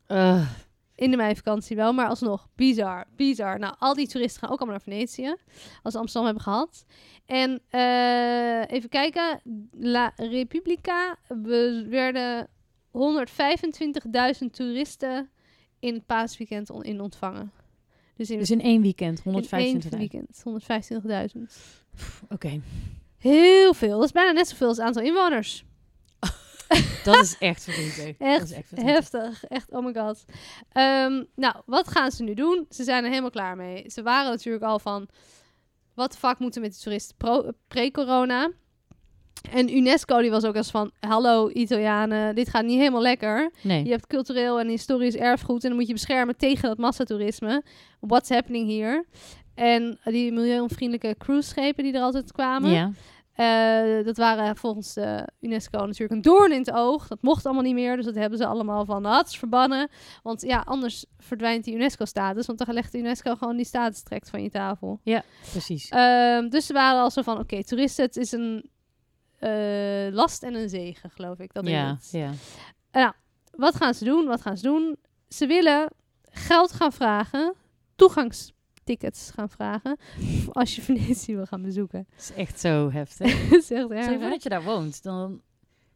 Speaker 2: Ugh.
Speaker 1: In de meivakantie wel, maar alsnog. Bizar, bizar. Nou, al die toeristen gaan ook allemaal naar Venetië. Als we Amsterdam hebben gehad. En eh, even kijken. La Repubblica. We werden 125.000 toeristen in het paasweekend on- in ontvangen. Dus in,
Speaker 2: dus in één weekend,
Speaker 1: in
Speaker 2: 125
Speaker 1: één weekend. 125.000.
Speaker 2: Oké.
Speaker 1: Heel veel. [LAUGHS] Dat is bijna net zoveel als het aantal inwoners. [LAUGHS]
Speaker 2: Dat is echt verdrietig. dat is [LAUGHS] echt verdrietig.
Speaker 1: Heftig, echt, oh my god. Ehm, nou, wat gaan ze nu doen? Ze zijn er helemaal klaar mee. Ze waren natuurlijk al van, wat de fuck moeten we met de toeristen pro- eh, pre-corona? En UNESCO die was ook als van, hallo Italianen, dit gaat niet helemaal lekker.
Speaker 2: Nee.
Speaker 1: Je hebt cultureel en historisch erfgoed en dat moet je beschermen tegen dat massatoerisme. What's happening here? En die milieuvriendelijke cruiseschepen die er altijd kwamen.
Speaker 2: Ja.
Speaker 1: Eh, dat waren volgens de UNESCO natuurlijk een doorn in het oog. Dat mocht allemaal niet meer, dus dat hebben ze allemaal van hats verbannen. Want ja, anders verdwijnt die UNESCO-status, want dan legt de UNESCO gewoon die status trekt van je tafel.
Speaker 2: Precies.
Speaker 1: Ehm, dus ze waren al zo van, oké, toeristen, het is een eh, last en een zegen, geloof ik. Dat is
Speaker 2: ja,
Speaker 1: het.
Speaker 2: ja.
Speaker 1: Wat gaan ze doen? Wat gaan ze doen? Ze willen geld gaan vragen, toegangstickets gaan vragen, [LAUGHS] als je Venetië wil gaan bezoeken. [LAUGHS]
Speaker 2: Het is echt zo [LAUGHS] heftig.
Speaker 1: dat is echt erg,
Speaker 2: Stel je voor
Speaker 1: hè?
Speaker 2: dat je daar woont, dan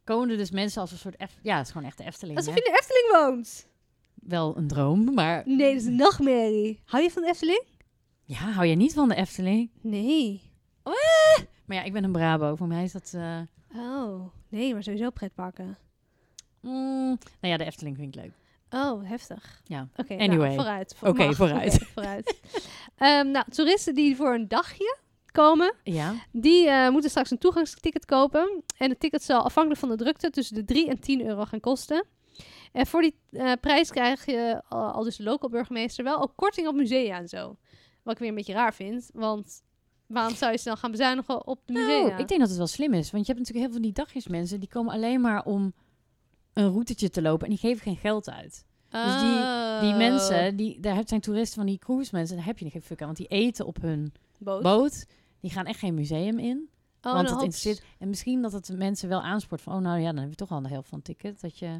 Speaker 2: komen er dus mensen als een soort... Ef- ja, het is gewoon echt de Efteling.
Speaker 1: Alsof
Speaker 2: hè?
Speaker 1: je in de Efteling woont.
Speaker 2: Wel een droom, maar...
Speaker 1: Nee, dat is een nachtmerrie. Hou je van de Efteling?
Speaker 2: Ja, hou jij niet van de Efteling?
Speaker 1: Nee.
Speaker 2: Maar ja, ik ben een Brabo. Voor mij is dat... eh,
Speaker 1: Oh, nee, maar sowieso pretparken.
Speaker 2: mm, nou ja, de Efteling vind ik leuk.
Speaker 1: Oh, heftig.
Speaker 2: Ja.
Speaker 1: Oké,
Speaker 2: Anyway.
Speaker 1: nou, vooruit. Vo-
Speaker 2: Oké,
Speaker 1: mag.
Speaker 2: vooruit.
Speaker 1: Oké, [LAUGHS] vooruit. Ehm, nou, toeristen die voor een dagje komen,
Speaker 2: Ja?
Speaker 1: die eh, moeten straks een toegangsticket kopen. En het ticket zal afhankelijk van de drukte tussen de 3 en 10 euro gaan kosten. En voor die eh, prijs krijg je, al al dus de local burgemeester, wel ook korting op musea en zo. Wat ik weer een beetje raar vind, want waarom zou je snel gaan bezuinigen op de musea?
Speaker 2: Nou, ik denk dat het wel slim is. Want je hebt natuurlijk heel veel van die dagjes mensen. Die komen alleen maar om een routetje te lopen. En die geven geen geld uit. Dus die- Die
Speaker 1: Oh.
Speaker 2: mensen, die, daar heb- zijn toeristen van die cruise mensen. Daar heb je niet geen fuck aan. Want die eten op hun
Speaker 1: Boot.
Speaker 2: boot. Die gaan echt geen museum in.
Speaker 1: Oh,
Speaker 2: want
Speaker 1: dan
Speaker 2: het
Speaker 1: hoop-
Speaker 2: interesseert. En misschien dat het mensen wel aanspoort van... Oh, nou ja, dan heb je toch al de helft van het ticket. Dat je...
Speaker 1: Oh,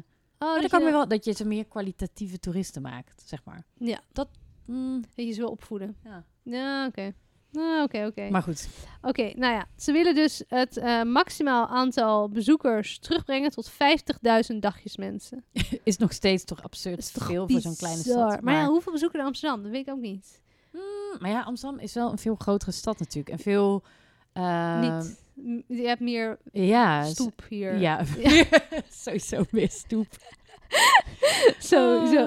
Speaker 1: dat,
Speaker 2: Maar dan kan
Speaker 1: je,
Speaker 2: je wel dat je ze meer kwalitatieve toeristen maakt, zeg maar.
Speaker 1: Ja.
Speaker 2: Dat... mm,
Speaker 1: dat je ze wil opvoeden.
Speaker 2: Ja.
Speaker 1: Ja, oké. Nou, oké, oké.
Speaker 2: Maar goed.
Speaker 1: Oké, nou ja. Ze willen dus het eh, maximaal aantal bezoekers terugbrengen tot 50.000 dagjes mensen.
Speaker 2: Is nog steeds toch absurd
Speaker 1: Dat is toch
Speaker 2: veel voor zo'n kleine
Speaker 1: bizar.
Speaker 2: stad.
Speaker 1: Maar, ja, hoeveel bezoeken naar Amsterdam? Dat weet ik ook niet.
Speaker 2: Mm, maar ja, Amsterdam is wel een veel grotere stad natuurlijk. En veel... eh,
Speaker 1: niet. M- Je hebt meer
Speaker 2: Ja. s-
Speaker 1: stoep hier. [LAUGHS]
Speaker 2: Ja, [LAUGHS] sowieso meer stoep.
Speaker 1: Zo, zo.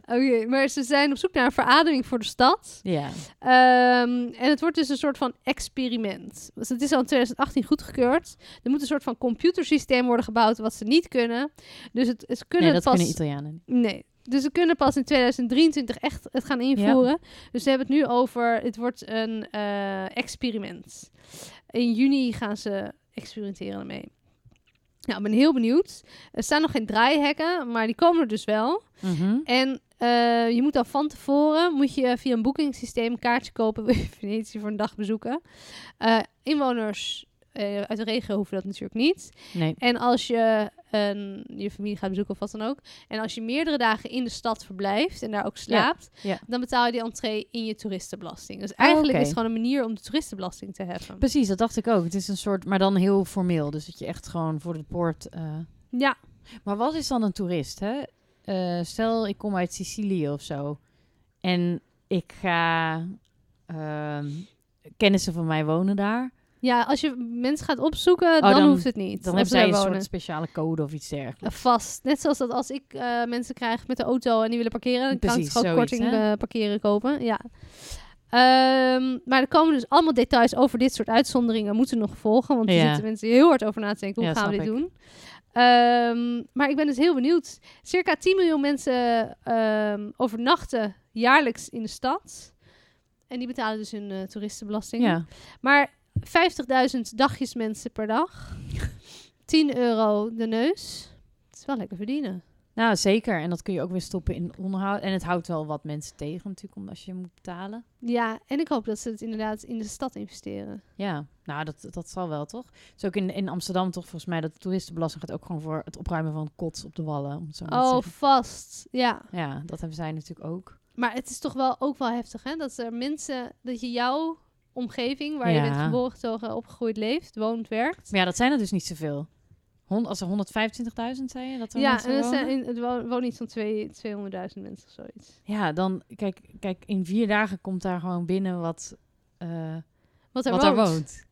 Speaker 1: Oké,
Speaker 2: Ja.
Speaker 1: maar ze zijn op zoek naar een verademing voor de stad.
Speaker 2: ja.
Speaker 1: Ehm, en het wordt dus een soort van experiment. Dus het is al in 2018 goedgekeurd. Er moet een soort van computersysteem worden gebouwd wat ze niet kunnen. Dus het, ze kunnen
Speaker 2: Nee, dat
Speaker 1: pas.
Speaker 2: kunnen Italianen niet.
Speaker 1: nee. Dus ze kunnen pas in 2023 echt het gaan invoeren. Dus ze hebben het nu over. Het wordt een eh, experiment. In juni gaan ze experimenteren ermee. Nou, ik ben heel benieuwd. Er staan nog geen draaihekken, maar die komen er dus wel.
Speaker 2: Mhm.
Speaker 1: En eh, je moet dan van tevoren moet je via een boekingssysteem een kaartje kopen. [LAUGHS] Wil je Venetië voor een dag bezoeken? Eh, inwoners eh, uit de regio hoeven dat natuurlijk niet.
Speaker 2: Nee.
Speaker 1: En als je een, je familie gaat bezoeken of wat dan ook. En als je meerdere dagen in de stad verblijft en daar ook slaapt.
Speaker 2: ja. Ah,
Speaker 1: Dan betaal je die entree in je toeristenbelasting. Dus eigenlijk
Speaker 2: oké.
Speaker 1: is het gewoon een manier om de toeristenbelasting te heffen.
Speaker 2: Precies, dat dacht ik ook. Het is een soort, maar dan heel formeel. Dus dat je echt gewoon voor de poort... eh,
Speaker 1: Ja,
Speaker 2: Maar wat is dan een toerist, hè? Eh, stel, ik kom uit Sicilië of zo. En ik ga... ehm, kennissen van mij wonen daar.
Speaker 1: ja, als je mensen gaat opzoeken,
Speaker 2: Oh,
Speaker 1: dan,
Speaker 2: dan-
Speaker 1: hoeft het niet.
Speaker 2: Dan
Speaker 1: als
Speaker 2: hebben
Speaker 1: ze daar
Speaker 2: zij een
Speaker 1: wonen.
Speaker 2: soort speciale code of iets dergelijks.
Speaker 1: Eh, Vast. Net zoals dat als ik eh, mensen krijg met de auto en die willen parkeren, dan kan ik
Speaker 2: Precies,
Speaker 1: toch ook
Speaker 2: zoiets,
Speaker 1: korting
Speaker 2: hè?
Speaker 1: eh, parkeren kopen. Ja. Ehm, maar er komen dus allemaal details over dit soort uitzonderingen moeten nog volgen. Want er
Speaker 2: Ja.
Speaker 1: zitten mensen heel hard over na te denken. Hoe
Speaker 2: Ja,
Speaker 1: gaan we dit
Speaker 2: snap
Speaker 1: doen? Ehm, maar ik ben dus heel benieuwd. Circa 10 miljoen mensen ehm, overnachten jaarlijks in de stad. En die betalen dus hun eh, toeristenbelasting.
Speaker 2: Ja,
Speaker 1: Maar 50.000 dagjes mensen per dag. 10 euro de neus. Het is wel lekker verdienen.
Speaker 2: nou zeker. En dat kun je ook weer stoppen in onderhoud. En het houdt wel wat mensen tegen natuurlijk, omdat als je moet betalen.
Speaker 1: Ja, en ik hoop dat ze het inderdaad in de stad investeren.
Speaker 2: Ja, nou dat, dat zal wel toch? Dus ook in, in Amsterdam toch volgens mij dat de toeristenbelasting gaat ook gewoon voor het opruimen van kots op de wallen. Om het zo maar te
Speaker 1: Oh,
Speaker 2: zeggen.
Speaker 1: vast. Ja.
Speaker 2: Ja, dat hebben zij natuurlijk ook.
Speaker 1: Maar het is toch wel ook wel heftig, hè? Dat er mensen, dat je jouw omgeving, waar je
Speaker 2: Ja.
Speaker 1: bent geboren, getogen, opgegroeid, leeft, woont, werkt.
Speaker 2: Maar ja, dat zijn er dus niet zoveel. Hond, als er 125.000 zei je dat er
Speaker 1: Ja,
Speaker 2: mensen
Speaker 1: en er
Speaker 2: wonen?
Speaker 1: zijn in, het wo- woont iets van twee- 200.000 mensen of zoiets.
Speaker 2: Ja, dan kijk, kijk, in vier dagen komt daar gewoon binnen wat, eh,
Speaker 1: Wat er
Speaker 2: wat
Speaker 1: woont.
Speaker 2: daar woont.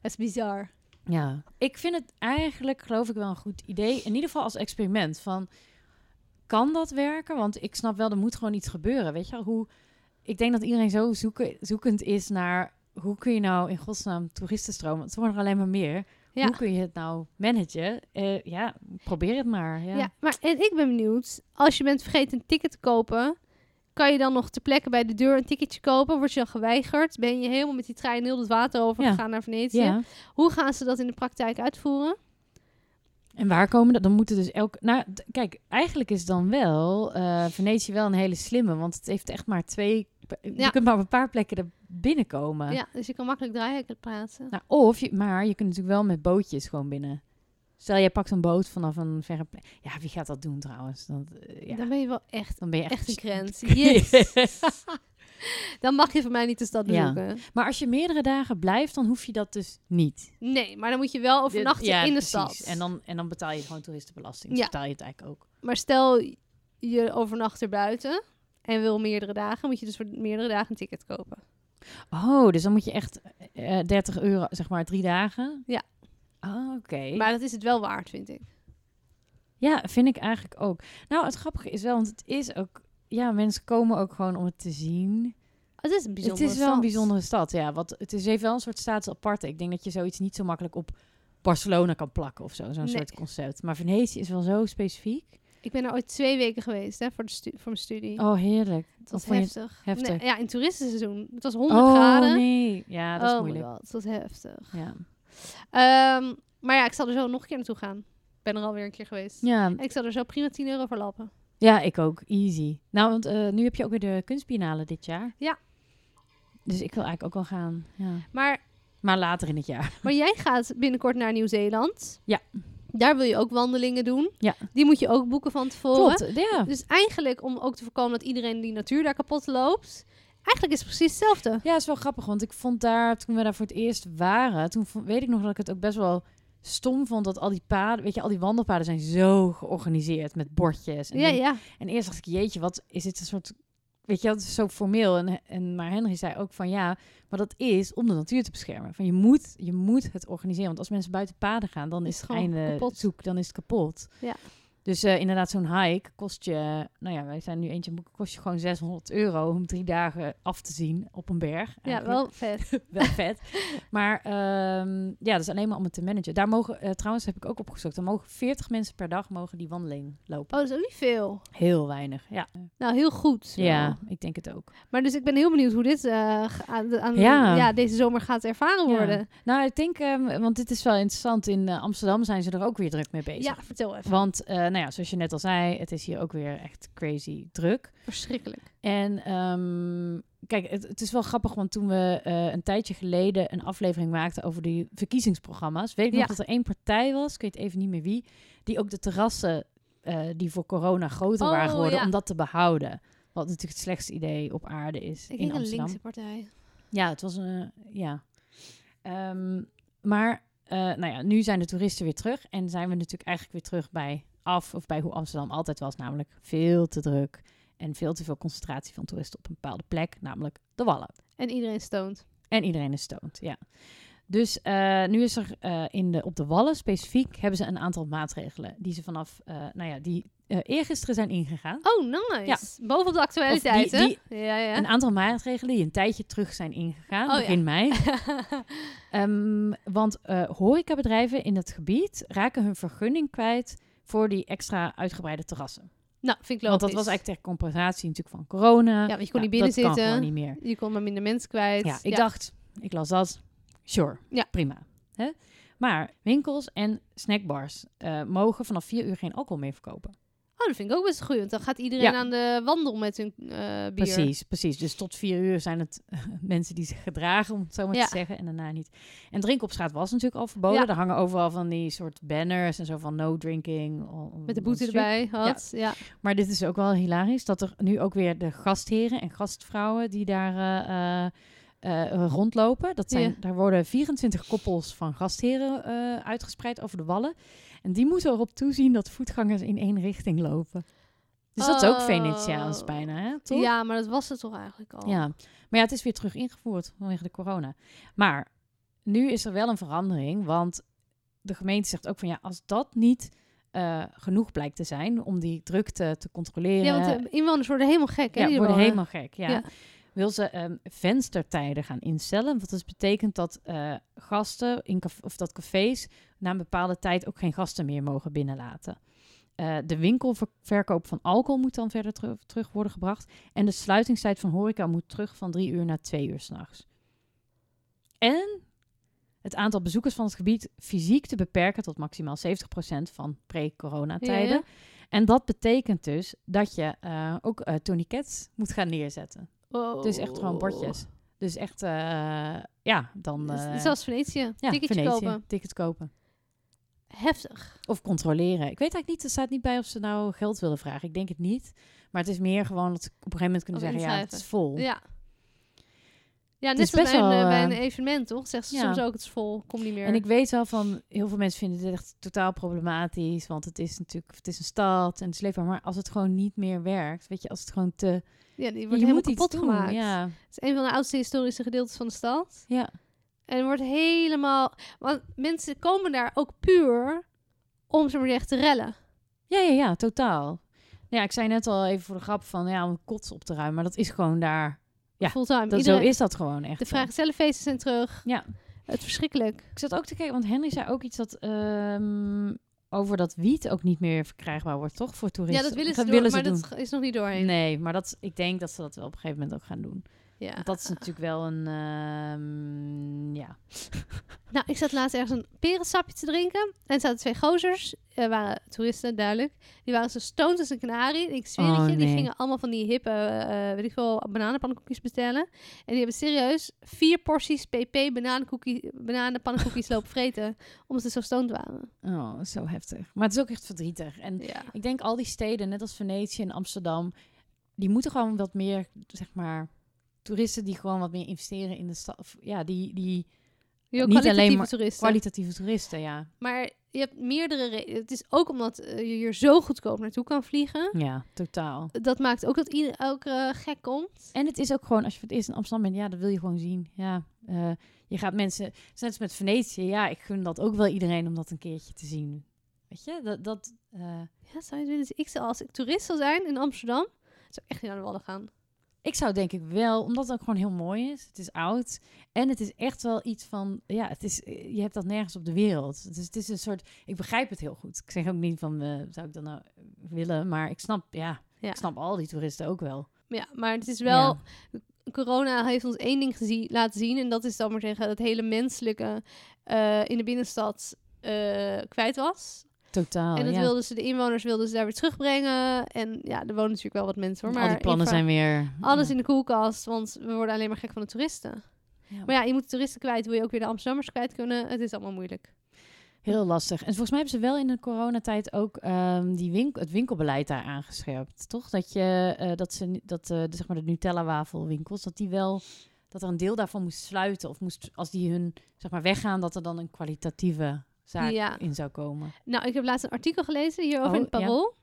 Speaker 1: Het is bizar.
Speaker 2: Ja. Ik vind het eigenlijk, geloof ik, wel een goed idee. In ieder geval als experiment. Van, kan dat werken? Want ik snap wel, er moet gewoon iets gebeuren. Weet je wel? Hoe, ik denk dat iedereen zo zoeken, zoekend is naar... Hoe kun je nou in godsnaam toeristenstromen? Want er worden er alleen maar meer.
Speaker 1: Ja.
Speaker 2: Hoe kun je het nou managen? Eh, ja, probeer het maar. Ja.
Speaker 1: Ja. maar en ik ben benieuwd, als je bent vergeten een ticket te kopen, kan je dan nog ter plekke bij de deur een ticketje kopen? Word je dan geweigerd? Ben je helemaal met die trein heel het water over
Speaker 2: Ja.
Speaker 1: gegaan naar Venetië?
Speaker 2: Ja.
Speaker 1: Hoe gaan ze dat in de praktijk uitvoeren?
Speaker 2: En waar komen dat? Dan moeten dus elke... Nou, d- kijk, eigenlijk is dan wel eh, Venetië wel een hele slimme. Want het heeft echt maar twee... Je
Speaker 1: Ja.
Speaker 2: kunt maar op een paar plekken er binnenkomen.
Speaker 1: Ja, dus je kan makkelijk draaihekken plaatsen.
Speaker 2: Nou, of je, maar je kunt natuurlijk wel met bootjes gewoon binnen. Stel, jij pakt een boot vanaf een verre plek. Ja, wie gaat dat doen trouwens? Dan, eh, ja,
Speaker 1: Dan ben je wel echt,
Speaker 2: dan ben je
Speaker 1: echt
Speaker 2: echt,
Speaker 1: een grens.
Speaker 2: [LAUGHS]
Speaker 1: Yes! [LAUGHS] dan mag je van mij niet de stad
Speaker 2: Ja.
Speaker 1: bezoeken.
Speaker 2: maar als je meerdere dagen blijft, dan hoef je dat dus niet.
Speaker 1: Nee, maar dan moet je wel overnachten
Speaker 2: Ja,
Speaker 1: in de
Speaker 2: precies.
Speaker 1: stad.
Speaker 2: En dan, en dan betaal je gewoon toeristenbelasting.
Speaker 1: Ja.
Speaker 2: Dus betaal je het eigenlijk ook.
Speaker 1: Maar stel je overnacht erbuiten en wil meerdere dagen, moet je dus voor meerdere dagen een ticket kopen.
Speaker 2: Oh, dus dan moet je echt eh, eh, 30 euro, zeg maar, drie dagen?
Speaker 1: Ja.
Speaker 2: Oh, oké.
Speaker 1: Maar dat is het wel waard, vind ik.
Speaker 2: Ja, vind ik eigenlijk ook. Nou, het grappige is wel, want het is ook... Ja, mensen komen ook gewoon om het te zien.
Speaker 1: Het is een bijzondere
Speaker 2: Het is wel een
Speaker 1: stad.
Speaker 2: bijzondere stad, ja. Want het is, heeft wel een soort status aparte. Ik denk dat je zoiets niet zo makkelijk op Barcelona kan plakken of zo. Zo'n
Speaker 1: Nee.
Speaker 2: soort concept. Maar Venetië is wel zo specifiek.
Speaker 1: Ik ben er ooit twee weken geweest hè, voor, de stu- voor mijn studie.
Speaker 2: Oh, heerlijk.
Speaker 1: dat was
Speaker 2: vond je het
Speaker 1: heftig.
Speaker 2: heftig?
Speaker 1: Nee, ja, in toeristenseizoen. Het was 100
Speaker 2: Oh,
Speaker 1: graden.
Speaker 2: nee. Ja, dat is
Speaker 1: oh
Speaker 2: moeilijk.
Speaker 1: my god, dat was heftig.
Speaker 2: Ja.
Speaker 1: Ehm, maar ja, ik zal er zo nog een keer naartoe gaan. Ik ben er alweer een keer geweest.
Speaker 2: Ja.
Speaker 1: En ik zal er zo prima 10 euro voor lappen.
Speaker 2: ja, ik ook. Easy. Nou, want eh, nu heb je ook weer de kunstbiennale dit jaar.
Speaker 1: Ja.
Speaker 2: Dus ik wil eigenlijk ook wel gaan. Ja.
Speaker 1: Maar,
Speaker 2: Maar later in het jaar.
Speaker 1: maar jij gaat binnenkort naar Nieuw-Zeeland.
Speaker 2: Ja.
Speaker 1: Daar wil je ook wandelingen doen.
Speaker 2: Ja.
Speaker 1: Die moet je ook boeken van tevoren.
Speaker 2: Klopt, ja.
Speaker 1: Dus eigenlijk om ook te voorkomen dat iedereen die natuur daar kapot loopt. Eigenlijk is het precies hetzelfde.
Speaker 2: Ja, is wel grappig, want ik vond daar, toen we daar voor het eerst waren, toen vond- weet ik nog dat ik het ook best wel stom vond dat al die paden, weet je, al die wandelpaden zijn zo georganiseerd met bordjes. En,
Speaker 1: Ja,
Speaker 2: dingen.
Speaker 1: ja.
Speaker 2: en eerst dacht ik, jeetje, wat is dit een soort, weet je, dat is zo formeel. En, en, maar Henry zei ook van ja, maar dat is om de natuur te beschermen. Van je moet, je moet het organiseren, want als mensen buiten paden gaan, dan is,
Speaker 1: Is
Speaker 2: het
Speaker 1: gewoon
Speaker 2: einde
Speaker 1: kapot.
Speaker 2: zoek, dan is het kapot.
Speaker 1: Ja.
Speaker 2: Dus eh, inderdaad, zo'n hike kost je, nou ja, wij zijn nu eentje aan het boeken, kost je gewoon 600 euro om drie dagen af te zien op een berg.
Speaker 1: Ja,
Speaker 2: eigenlijk
Speaker 1: wel vet.
Speaker 2: wel
Speaker 1: [LAUGHS]
Speaker 2: vet. Maar ehm, ja, dat is alleen maar om het te managen. Daar mogen, eh, trouwens heb ik ook opgezocht, er mogen 40 mensen per dag mogen die wandeling lopen.
Speaker 1: Oh, dat is ook niet veel.
Speaker 2: Heel weinig, ja.
Speaker 1: Nou, heel goed. wel.
Speaker 2: Ja, ik denk het ook.
Speaker 1: Maar dus ik ben heel benieuwd hoe dit eh, ge- aan, de- aan
Speaker 2: Ja.
Speaker 1: Ja, deze zomer gaat ervaren
Speaker 2: Ja.
Speaker 1: worden.
Speaker 2: Nou, ik denk, ehm, want dit is wel interessant, in eh, Amsterdam zijn ze er ook weer druk mee bezig.
Speaker 1: Ja, vertel even.
Speaker 2: Want, eh, nou ja, zoals je net al zei, het is hier ook weer echt crazy druk.
Speaker 1: Verschrikkelijk.
Speaker 2: En ehm, kijk, het, het is wel grappig, want toen we eh, een tijdje geleden een aflevering maakten over die verkiezingsprogramma's, weet ik nog
Speaker 1: Ja.
Speaker 2: dat er één partij was, ik weet even niet meer wie, die ook de terrassen eh, die voor corona groter
Speaker 1: Oh,
Speaker 2: waren geworden,
Speaker 1: ja.
Speaker 2: om dat te behouden. Wat natuurlijk het slechtste idee op aarde is
Speaker 1: Ik
Speaker 2: in
Speaker 1: denk een
Speaker 2: Amsterdam.
Speaker 1: linkse partij.
Speaker 2: Ja, het was een. ja. Ehm, maar, eh, nou ja, nu zijn de toeristen weer terug. En zijn we natuurlijk eigenlijk weer terug bij af of bij hoe Amsterdam altijd was. Namelijk veel te druk en veel te veel concentratie van toeristen op een bepaalde plek. Namelijk de Wallen.
Speaker 1: En iedereen stoont.
Speaker 2: En iedereen is stoned, ja. Dus eh, nu is er eh, in de, op de Wallen specifiek hebben ze een aantal maatregelen die ze vanaf, eh, nou ja, die eh eergisteren zijn ingegaan.
Speaker 1: Oh, nice. Bovenop de actualiteit,
Speaker 2: Of die-
Speaker 1: hè? ja, ja. [LAUGHS]
Speaker 2: Een aantal maatregelen die een tijdje terug zijn ingegaan,
Speaker 1: Oh, ja.
Speaker 2: begin mei. Ehm, want eh, horecabedrijven in het gebied raken hun vergunning kwijt voor die extra uitgebreide terrassen.
Speaker 1: nou, vind ik logisch.
Speaker 2: Want dat was eigenlijk ter compensatie natuurlijk van corona.
Speaker 1: Ja, want je kon
Speaker 2: Nou,
Speaker 1: niet binnen
Speaker 2: dat kan
Speaker 1: zitten.
Speaker 2: gewoon niet meer.
Speaker 1: Je komt maar minder mensen kwijt.
Speaker 2: Ja, ik dacht, ik las dat. Sure,
Speaker 1: Ja.
Speaker 2: prima. Hè? Maar winkels en snackbars eh, mogen vanaf vier uur geen alcohol meer verkopen.
Speaker 1: Oh, dat vind ik ook best goed. Want dan gaat iedereen
Speaker 2: Ja.
Speaker 1: aan de wandel met hun eh, bier.
Speaker 2: Precies, precies. Dus tot vier uur zijn het [LAUGHS] mensen die zich gedragen, om het zo maar
Speaker 1: Ja.
Speaker 2: te zeggen, en daarna niet. En drinken op straat was natuurlijk al verboden.
Speaker 1: Ja.
Speaker 2: Er hangen overal van die soort banners en zo van no drinking. on- on
Speaker 1: Met de
Speaker 2: the
Speaker 1: boete
Speaker 2: street.
Speaker 1: erbij. Had. Ja.
Speaker 2: Maar dit is ook wel hilarisch, dat er nu ook weer de gastheren en gastvrouwen die daar eh, eh, eh, rondlopen. Dat zijn,
Speaker 1: Ja.
Speaker 2: Daar worden 24 koppels van gastheren eh, uitgespreid over de wallen. En die moeten erop toezien dat voetgangers in één richting lopen. Dus dat is ook
Speaker 1: Oh.
Speaker 2: Venetiaans bijna, hè?
Speaker 1: Ja.
Speaker 2: Toch?
Speaker 1: maar dat was het toch eigenlijk al.
Speaker 2: Ja, maar ja, het is weer terug ingevoerd vanwege de corona. Maar nu is er wel een verandering, want de gemeente zegt ook van ja, als dat niet eh, genoeg blijkt te zijn om die drukte te controleren,
Speaker 1: Ja, want
Speaker 2: ja,
Speaker 1: de inwoners worden helemaal gek. hè, die er
Speaker 2: worden
Speaker 1: wonen.
Speaker 2: helemaal gek. Ja.
Speaker 1: Ja.
Speaker 2: Wil ze ehm, venstertijden gaan instellen? Want dat betekent dat eh, gasten in caf- of dat cafés na een bepaalde tijd ook geen gasten meer mogen binnenlaten. Eh, de winkelverkoop van alcohol moet dan verder teru- terug worden gebracht. En de sluitingstijd van horeca moet terug van drie uur naar twee uur s'nachts. En het aantal bezoekers van het gebied fysiek te beperken tot maximaal 70% van pre-coronatijden.
Speaker 1: Ja, ja.
Speaker 2: En dat betekent dus dat je eh, ook eh tourniquets moet gaan neerzetten.
Speaker 1: Wow.
Speaker 2: Dus echt gewoon bordjes. Dus echt, eh, ja, dan...
Speaker 1: Dus-
Speaker 2: eh,
Speaker 1: Zelfs Venetië.
Speaker 2: ja,
Speaker 1: Ticketje
Speaker 2: Venetië,
Speaker 1: kopen.
Speaker 2: Ticket kopen.
Speaker 1: Heftig.
Speaker 2: Of controleren. Ik weet eigenlijk niet, er staat niet bij of ze nou geld willen vragen. Ik denk het niet. Maar het is meer gewoon dat ze op een gegeven moment kunnen
Speaker 1: Of
Speaker 2: zeggen, ja, het is
Speaker 1: inschrijven.
Speaker 2: vol.
Speaker 1: Ja. Ja, net
Speaker 2: is
Speaker 1: als
Speaker 2: best
Speaker 1: bij een,
Speaker 2: wel,
Speaker 1: eh, bij
Speaker 2: eh,
Speaker 1: een evenement, toch? Zegt ze
Speaker 2: ja.
Speaker 1: soms ook, het is vol, kom niet meer.
Speaker 2: En ik weet wel van, heel veel mensen vinden dit echt totaal problematisch. Want het is natuurlijk, het is een stad en het is leefbaar. Maar als het gewoon niet meer werkt, weet je, als het gewoon te...
Speaker 1: ja, die wordt
Speaker 2: Je moet
Speaker 1: helemaal
Speaker 2: iets
Speaker 1: kapot
Speaker 2: doen,
Speaker 1: gemaakt.
Speaker 2: Ja,
Speaker 1: Het is een van de oudste historische gedeeltes van de stad.
Speaker 2: ja.
Speaker 1: En wordt helemaal... Want mensen komen daar ook puur om, ze maar zeggen, te rellen.
Speaker 2: Ja, ja, ja, totaal. Ja, ik zei net al even voor de grap van ja, om kots op te ruimen, maar dat is gewoon daar. Ja,
Speaker 1: Fulltime.
Speaker 2: Dat,
Speaker 1: Iedereen-
Speaker 2: Zo is dat gewoon echt.
Speaker 1: De vrijgezellenfeesten zijn terug.
Speaker 2: Ja.
Speaker 1: Het is verschrikkelijk.
Speaker 2: Ik zat ook te kijken, want Henry zei ook iets dat ehm, over dat wiet ook niet meer verkrijgbaar wordt, toch? Voor
Speaker 1: Ja,
Speaker 2: toeristen.
Speaker 1: dat willen ze, door, maar dat is nog niet doorheen.
Speaker 2: Nee, maar dat, ik denk dat ze dat wel op een gegeven moment ook gaan doen.
Speaker 1: Ja.
Speaker 2: Want dat is natuurlijk wel een. ehm, ja.
Speaker 1: Nou, ik zat laatst ergens een perensapje te drinken. En er zaten twee gozers. Er waren toeristen, duidelijk. Die waren zo stoned als een kanarie. En ik zweer het
Speaker 2: Oh,
Speaker 1: je, die
Speaker 2: nee.
Speaker 1: gingen allemaal van die hippe, eh, weet ik veel, bananenpannenkoekjes bestellen. En die hebben serieus vier porties pp bananenkoekie-
Speaker 2: [LAUGHS]
Speaker 1: bananenpannenkoekjes lopen vreten. Omdat ze zo stoned waren.
Speaker 2: Oh, zo heftig. Maar het is ook echt verdrietig. En
Speaker 1: Ja.
Speaker 2: Ik denk al die steden, net als Venetië en Amsterdam, die moeten gewoon wat meer, zeg maar, toeristen die gewoon wat meer investeren in de stad. of, Ja, die, die
Speaker 1: Heel
Speaker 2: Niet alleen
Speaker 1: kwalitatieve
Speaker 2: maar
Speaker 1: toeristen.
Speaker 2: kwalitatieve toeristen, ja.
Speaker 1: maar je hebt meerdere redenen. Het is ook omdat eh, je hier zo goedkoop naartoe kan vliegen.
Speaker 2: Ja, totaal.
Speaker 1: Dat maakt ook dat ieder, elke eh, gek komt.
Speaker 2: En het is ook gewoon, als je voor het eerst in Amsterdam bent, ja, dat wil je gewoon zien. Ja, eh, je gaat mensen, het is net als met Venetië, ja, ik gun dat ook wel iedereen om dat een keertje te zien. Weet je, dat, dat eh,
Speaker 1: Ja, zou je willen? Dus ik zou, als ik toerist zou zijn in Amsterdam, zou ik echt niet naar de Wallen gaan.
Speaker 2: ik zou denk ik wel, omdat het ook gewoon heel mooi is. Het is oud en het is echt wel iets van, ja, het is, eh, je hebt dat nergens op de wereld. Dus het is een soort, ik begrijp het heel goed. Ik zeg ook niet van, eh, zou ik dat nou willen? Maar ik snap, ja,
Speaker 1: Ja.
Speaker 2: ik snap al die toeristen ook wel.
Speaker 1: Ja, maar het is wel...
Speaker 2: Ja.
Speaker 1: Corona heeft ons één ding gezien, laten zien. En dat is dan maar zeggen dat hele menselijke eh, in de binnenstad eh, kwijt was.
Speaker 2: Totaal,
Speaker 1: en dat
Speaker 2: Oh, ja.
Speaker 1: wilden ze, de inwoners wilden ze daar weer terugbrengen. En ja, er wonen natuurlijk wel wat mensen hoor. Maar
Speaker 2: al die plannen
Speaker 1: infra-
Speaker 2: zijn weer...
Speaker 1: Alles
Speaker 2: ja.
Speaker 1: in de koelkast, want we worden alleen maar gek van de toeristen.
Speaker 2: Ja.
Speaker 1: Maar ja, je moet de toeristen kwijt, wil je ook weer de Amsterdammers kwijt kunnen. Het is allemaal moeilijk.
Speaker 2: Heel lastig. En volgens mij hebben ze wel in de coronatijd ook ehm, die winkel, het winkelbeleid daar aangescherpt, toch? Dat, je, eh, dat, ze, ni- dat eh, de, zeg maar de Nutella-wafelwinkels, dat die wel... dat er een deel daarvan moest sluiten. Of moest, als die hun zeg maar, weggaan, dat er dan een kwalitatieve zaak
Speaker 1: Ja.
Speaker 2: in zou komen.
Speaker 1: Nou, ik heb laatst een artikel gelezen hierover
Speaker 2: Oh,
Speaker 1: in het
Speaker 2: ja.
Speaker 1: Parool.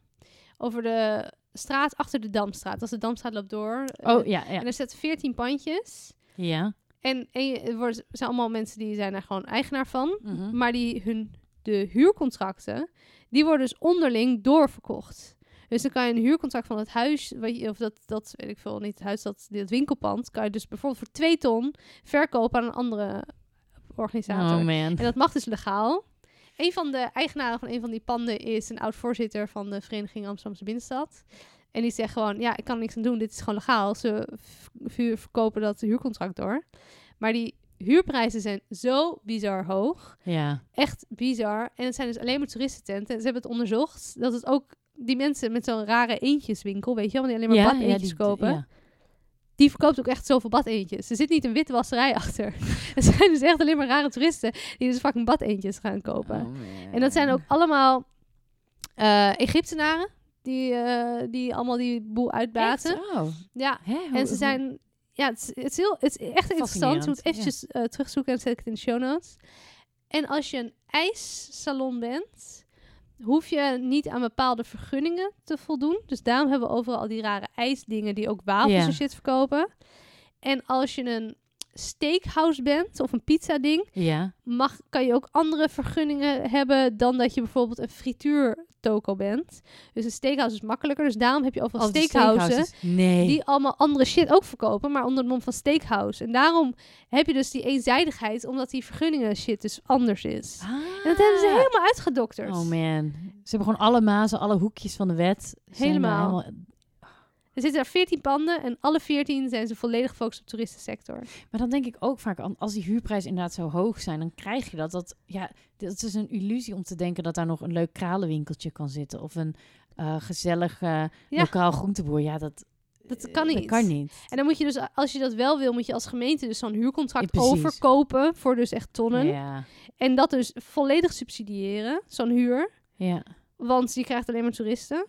Speaker 1: Over de straat achter de Damstraat. Als de Damstraat loopt door. eh,
Speaker 2: Oh, ja, ja.
Speaker 1: En er zitten 14 pandjes.
Speaker 2: Ja.
Speaker 1: En, en je- er wordt, zijn allemaal mensen die zijn er gewoon eigenaar van.
Speaker 2: Mhm.
Speaker 1: Maar die hun, de huurcontracten, die worden dus onderling doorverkocht. Dus dan kan je een huurcontract van het huis, wat je- of dat, dat weet ik veel, niet het huis, dat, dit winkelpand, kan je dus bijvoorbeeld voor twee ton verkopen aan een andere organisator.
Speaker 2: Oh man.
Speaker 1: En dat mag dus legaal. Een van de eigenaren van een van die panden is een oud-voorzitter van de Vereniging Amsterdamse Binnenstad. En die zegt gewoon, ja, ik kan er niks aan doen, dit is gewoon legaal. Ze v- vuur- verkopen dat huurcontract door. Maar die huurprijzen zijn zo bizar hoog.
Speaker 2: Ja.
Speaker 1: Echt bizar. En het zijn dus alleen maar toeristententen. En ze hebben het onderzocht dat het ook die mensen met zo'n rare eentjeswinkel, weet je wel, want die alleen maar bad eentjes kopen
Speaker 2: ja.
Speaker 1: die verkoopt ook echt zoveel badeentjes. Er zit niet een witwasserij [LAUGHS] achter. Er zijn dus echt alleen maar rare toeristen die dus fucking badeentjes gaan kopen.
Speaker 2: Oh, man.
Speaker 1: En dat zijn ook allemaal eh, Egyptenaren die, eh, die allemaal die boel uitbaten.
Speaker 2: Echt? Oh.
Speaker 1: Ja,
Speaker 2: Hè? Hoe-
Speaker 1: en ze
Speaker 2: hoe-
Speaker 1: zijn... Ja, het is, het is, heel, het is echt interessant. Je moet
Speaker 2: Oh, Fascinerend, ja.
Speaker 1: eventjes eh, terugzoeken en dan zet ik het in de show notes. En als je een ijssalon bent, hoef je niet aan bepaalde vergunningen te voldoen. Dus daarom hebben we overal al die rare ijsdingen die ook wafels
Speaker 2: Ja.
Speaker 1: en shit verkopen. En als je een steakhouse bent of een pizza ding,
Speaker 2: Ja.
Speaker 1: mag, kan je ook andere vergunningen hebben dan dat je bijvoorbeeld een frituurtoko bent. Dus een steakhouse is makkelijker, dus daarom heb je overal
Speaker 2: Als de
Speaker 1: steakhouses
Speaker 2: steakhouses. Nee.
Speaker 1: die allemaal andere shit ook verkopen, maar onder de mom van steakhouse. En daarom heb je dus die eenzijdigheid, omdat die vergunningen shit dus anders is.
Speaker 2: Ah.
Speaker 1: En dat hebben ze helemaal uitgedokterd.
Speaker 2: Oh man. Ze hebben gewoon alle mazen, alle hoekjes van de wet. zijn
Speaker 1: Helemaal.
Speaker 2: helemaal-
Speaker 1: er zitten er 14 panden en alle 14 zijn ze volledig gefocust op de toeristensector.
Speaker 2: Maar dan denk ik ook vaak, aan, als die huurprijs inderdaad zo hoog zijn, dan krijg je dat. dat ja, dat is een illusie om te denken dat daar nog een leuk kralenwinkeltje kan zitten. Of een eh, gezellig eh,
Speaker 1: Ja.
Speaker 2: lokaal groenteboer. Ja, dat,
Speaker 1: Dat
Speaker 2: eh,
Speaker 1: kan
Speaker 2: Dat
Speaker 1: niet.
Speaker 2: kan niet.
Speaker 1: En dan moet je dus, als je dat wel wil, moet je als gemeente dus zo'n huurcontract
Speaker 2: Ja, precies.
Speaker 1: overkopen voor dus echt tonnen.
Speaker 2: Ja.
Speaker 1: En dat dus volledig subsidiëren, zo'n huur.
Speaker 2: ja.
Speaker 1: Want je krijgt alleen maar toeristen.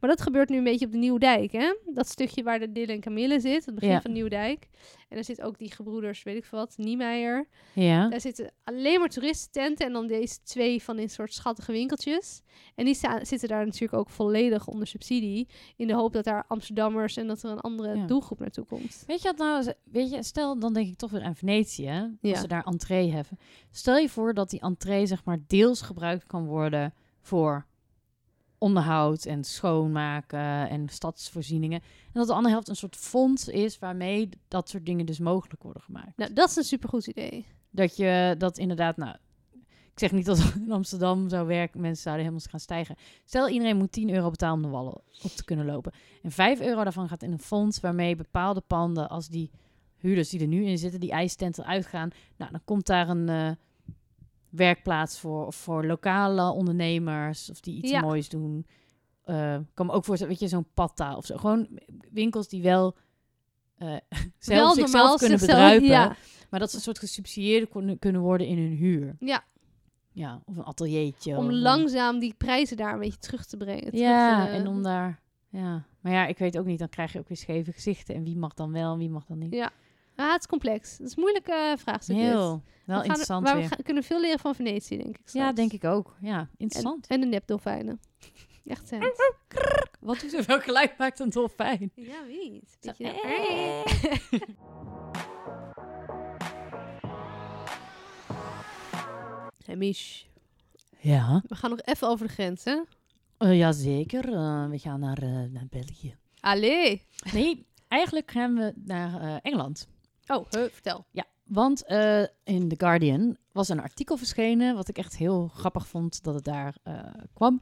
Speaker 1: Maar dat gebeurt nu een beetje op de Nieuwdijk, hè? Dat stukje waar de Dille en Camille zit, het begin
Speaker 2: Ja.
Speaker 1: van Nieuwdijk. En daar zit ook die gebroeders, weet ik veel wat, Niemeyer.
Speaker 2: Ja.
Speaker 1: Daar zitten alleen maar toeristententen en dan deze twee van dit soort schattige winkeltjes. En die sta- zitten daar natuurlijk ook volledig onder subsidie. In de hoop dat daar Amsterdammers en dat er een andere
Speaker 2: Ja.
Speaker 1: doelgroep naartoe komt.
Speaker 2: Weet je wat nou? eens- Weet je, stel, dan denk ik toch weer aan Venetië. hè, Als
Speaker 1: Ja.
Speaker 2: ze daar entree hebben. Stel je voor dat die entree zeg maar deels gebruikt kan worden voor onderhoud en schoonmaken en stadsvoorzieningen. En dat de andere helft een soort fonds is waarmee dat soort dingen dus mogelijk worden gemaakt.
Speaker 1: Nou, dat is een supergoed idee.
Speaker 2: Dat je dat inderdaad, nou, ik zeg niet dat [LAUGHS] het in Amsterdam zou werken, mensen zouden helemaal gaan stijgen. Stel iedereen moet 10 euro betalen om de wallen op te kunnen lopen. En 5 euro daarvan gaat in een fonds waarmee bepaalde panden, als die huurders die er nu in zitten, die ijstenten eruit gaan, nou, dan komt daar een eh, werkplaats voor, of voor lokale ondernemers, of die iets
Speaker 1: Ja.
Speaker 2: moois doen. Eh, Ik kan me ook voorstellen, weet je, zo'n patta of zo. Gewoon winkels die wel eh [LAUGHS] zelf
Speaker 1: Wel
Speaker 2: zichzelf
Speaker 1: normaal
Speaker 2: kunnen
Speaker 1: zichzelf-
Speaker 2: bedruipen.
Speaker 1: Ja,
Speaker 2: Maar dat ze een soort gesubsidieerd kunnen, kunnen worden in hun huur.
Speaker 1: Ja.
Speaker 2: Ja, of een ateliertje.
Speaker 1: om
Speaker 2: of een-
Speaker 1: langzaam die prijzen daar een beetje terug te brengen. terug
Speaker 2: Ja,
Speaker 1: te-
Speaker 2: en om daar... Ja. Maar ja, ik weet ook niet, dan krijg je ook weer scheve gezichten. En wie mag dan wel en wie mag dan niet.
Speaker 1: Ja. Ah, het is complex. Het is een moeilijke vraagstuk. dit.
Speaker 2: Heel,
Speaker 1: We
Speaker 2: wel
Speaker 1: gaan-
Speaker 2: interessant
Speaker 1: maar
Speaker 2: weer.
Speaker 1: we gaan- kunnen veel leren van Venetië, denk ik.
Speaker 2: ja, denk ik ook. Ja, interessant.
Speaker 1: En de nepdolfijnen. [LAUGHS] Echt zijn.
Speaker 2: Wat doet er wel geluid maakt een dolfijn?
Speaker 1: Ja, weet.
Speaker 2: Zo,
Speaker 1: Beetje-
Speaker 2: eh.
Speaker 1: [LAUGHS] Hé, Mich,
Speaker 2: Ja,
Speaker 1: we gaan nog even over de grens, hè?
Speaker 2: Eh, jazeker. Eh, we gaan naar, eh, naar België.
Speaker 1: Allee.
Speaker 2: Nee, eigenlijk gaan we naar eh, Engeland.
Speaker 1: Oh, he, vertel.
Speaker 2: Want eh, in The Guardian was een artikel verschenen, wat ik echt heel grappig vond dat het daar eh, kwam.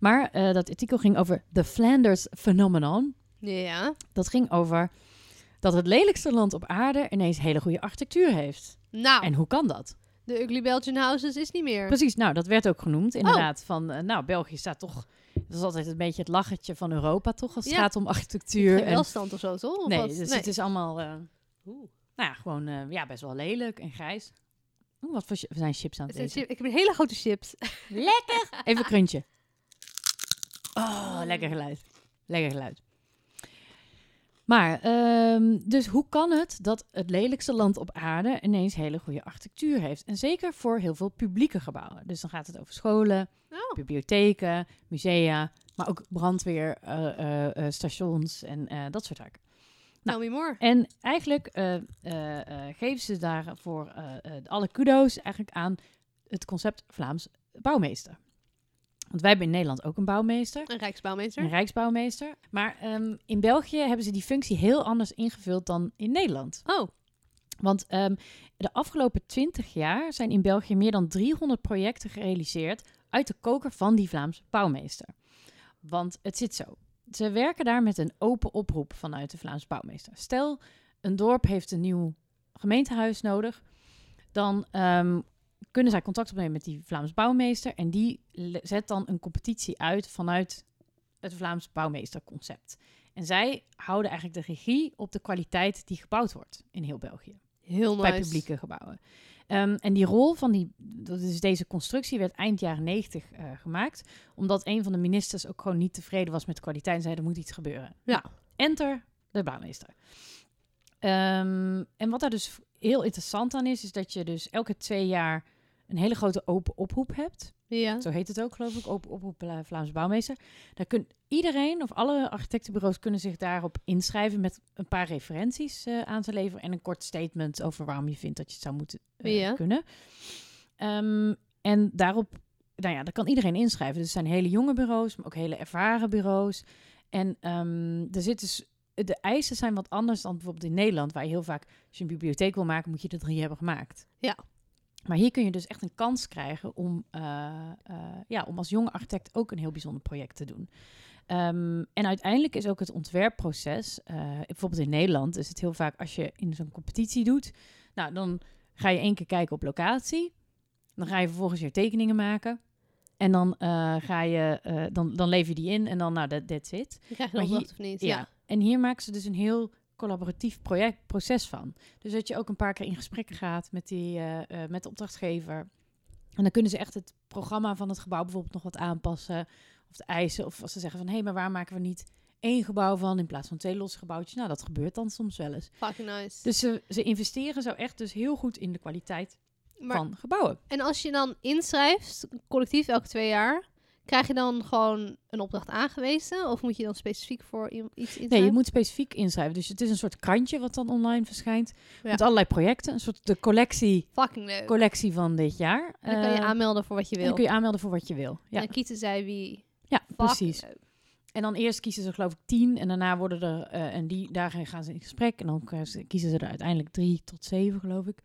Speaker 2: Maar eh, dat artikel ging over The Flanders Phenomenon.
Speaker 1: Ja.
Speaker 2: Dat ging over dat het lelijkste land op aarde ineens hele goede architectuur heeft.
Speaker 1: Nou,
Speaker 2: En hoe kan dat?
Speaker 1: de Ugly Belgian Houses is niet meer.
Speaker 2: Precies, nou dat werd ook genoemd inderdaad.
Speaker 1: Oh.
Speaker 2: Van, eh, nou België staat toch, dat is altijd een beetje het lachertje van Europa toch, als het
Speaker 1: Ja.
Speaker 2: gaat om
Speaker 1: Geen
Speaker 2: architectuur. en-
Speaker 1: welstand of zo, toch? Of
Speaker 2: nee,
Speaker 1: wat?
Speaker 2: dus het is allemaal, eh, nou ja, gewoon eh, ja, best wel lelijk en grijs. Oeh, wat voor chi- we zijn chips aan
Speaker 1: Het
Speaker 2: het
Speaker 1: zijn
Speaker 2: eten.
Speaker 1: chip- ik heb een hele grote chips.
Speaker 2: Even een kruntje. Oh, lekker geluid. Lekker geluid. Maar, ehm, dus hoe kan het dat het lelijkste land op aarde ineens hele goede architectuur heeft? En zeker voor heel veel publieke gebouwen. Dus dan gaat het over scholen,
Speaker 1: Oh.
Speaker 2: bibliotheken, musea, maar ook brandweer, eh, eh, eh, stations en eh, dat soort zaken.
Speaker 1: Tell me Nou, more.
Speaker 2: En eigenlijk eh, eh, eh, geven ze daarvoor eh, eh, alle kudo's eigenlijk aan het concept Vlaams bouwmeester. Want wij hebben in Nederland ook een bouwmeester,
Speaker 1: Een rijksbouwmeester.
Speaker 2: een rijksbouwmeester. Maar ehm, in België hebben ze die functie heel anders ingevuld dan in Nederland.
Speaker 1: Oh,
Speaker 2: Want ehm, de afgelopen 20 jaar zijn in België meer dan 300 projecten gerealiseerd uit de koker van die Vlaams bouwmeester. Want het zit zo. Ze werken daar met een open oproep vanuit de Vlaams bouwmeester. Stel, een dorp heeft een nieuw gemeentehuis nodig. Dan ehm, kunnen zij contact opnemen met die Vlaams bouwmeester. En die le- zet dan een competitie uit vanuit het Vlaams bouwmeesterconcept. En zij houden eigenlijk de regie op de kwaliteit die gebouwd wordt in heel België
Speaker 1: heel nice.
Speaker 2: bij publieke gebouwen. Ehm, en die rol van die, dat is deze constructie werd eind jaren 90 eh, gemaakt, omdat een van de ministers ook gewoon niet tevreden was met de kwaliteit en zei er moet iets gebeuren.
Speaker 1: Ja.
Speaker 2: Enter de bouwmeester. Ehm, en wat daar dus heel interessant aan is, is dat je dus elke twee jaar een hele grote open oproep hebt.
Speaker 1: Ja.
Speaker 2: Zo heet het ook, geloof ik, open oproep Vla- Vlaams eh, Bouwmeester. Daar kun iedereen of alle architectenbureaus kunnen zich daarop inschrijven met een paar referenties eh, aan te leveren en een kort statement over waarom je vindt dat je het zou moeten eh,
Speaker 1: Ja.
Speaker 2: kunnen. Ehm, en daarop, nou ja, daar kan iedereen inschrijven. Dus het zijn hele jonge bureaus, maar ook hele ervaren bureaus. En ehm, er zit dus, de eisen zijn wat anders dan bijvoorbeeld in Nederland, waar je heel vaak, als je een bibliotheek wil maken, moet je er drie hebben gemaakt.
Speaker 1: Ja.
Speaker 2: Maar hier kun je dus echt een kans krijgen om, eh, eh, ja, om als jonge architect ook een heel bijzonder project te doen. Ehm, en uiteindelijk is ook het ontwerpproces, eh, bijvoorbeeld in Nederland, is het heel vaak als je in zo'n competitie doet, nou dan ga je één keer kijken op locatie, dan ga je vervolgens je tekeningen maken. En dan, eh, ga je, eh, dan, dan lever je die in en dan, nou, dat that's it.
Speaker 1: Dan krijg je
Speaker 2: Maar
Speaker 1: een
Speaker 2: hier-
Speaker 1: opdracht of niet. Ja.
Speaker 2: En hier maken ze dus een heel collaboratief project, proces van. Dus dat je ook een paar keer in gesprek gaat met, die, eh, eh, met de opdrachtgever. En dan kunnen ze echt het programma van het gebouw bijvoorbeeld nog wat aanpassen. Of de eisen. Of als ze zeggen van, hé, maar waar maken we niet één gebouw van in plaats van twee losse gebouwtjes? Nou, dat gebeurt dan soms wel eens.
Speaker 1: Fucking nice.
Speaker 2: Dus ze, ze investeren zo echt dus heel goed in de kwaliteit
Speaker 1: maar,
Speaker 2: van gebouwen.
Speaker 1: En als je dan inschrijft, collectief elke twee jaar, krijg je dan gewoon een opdracht aangewezen? Of moet je dan specifiek voor i- iets inschrijven?
Speaker 2: Nee, je moet specifiek inschrijven. Dus het is een soort krantje wat dan online verschijnt.
Speaker 1: Ja.
Speaker 2: Met allerlei projecten. Een soort de collectie,
Speaker 1: Fucking leuk.
Speaker 2: collectie van dit jaar.
Speaker 1: En dan kan je
Speaker 2: Eh,
Speaker 1: aanmelden voor wat je
Speaker 2: En dan
Speaker 1: wil.
Speaker 2: kun je aanmelden voor wat je wil.
Speaker 1: En
Speaker 2: Ja,
Speaker 1: dan kiezen zij wie.
Speaker 2: ja
Speaker 1: Fucking
Speaker 2: precies.
Speaker 1: leuk.
Speaker 2: En dan eerst kiezen ze geloof ik tien. En daarna worden er, eh, en die, daar gaan ze in gesprek. En dan kiezen ze er uiteindelijk drie tot zeven geloof ik.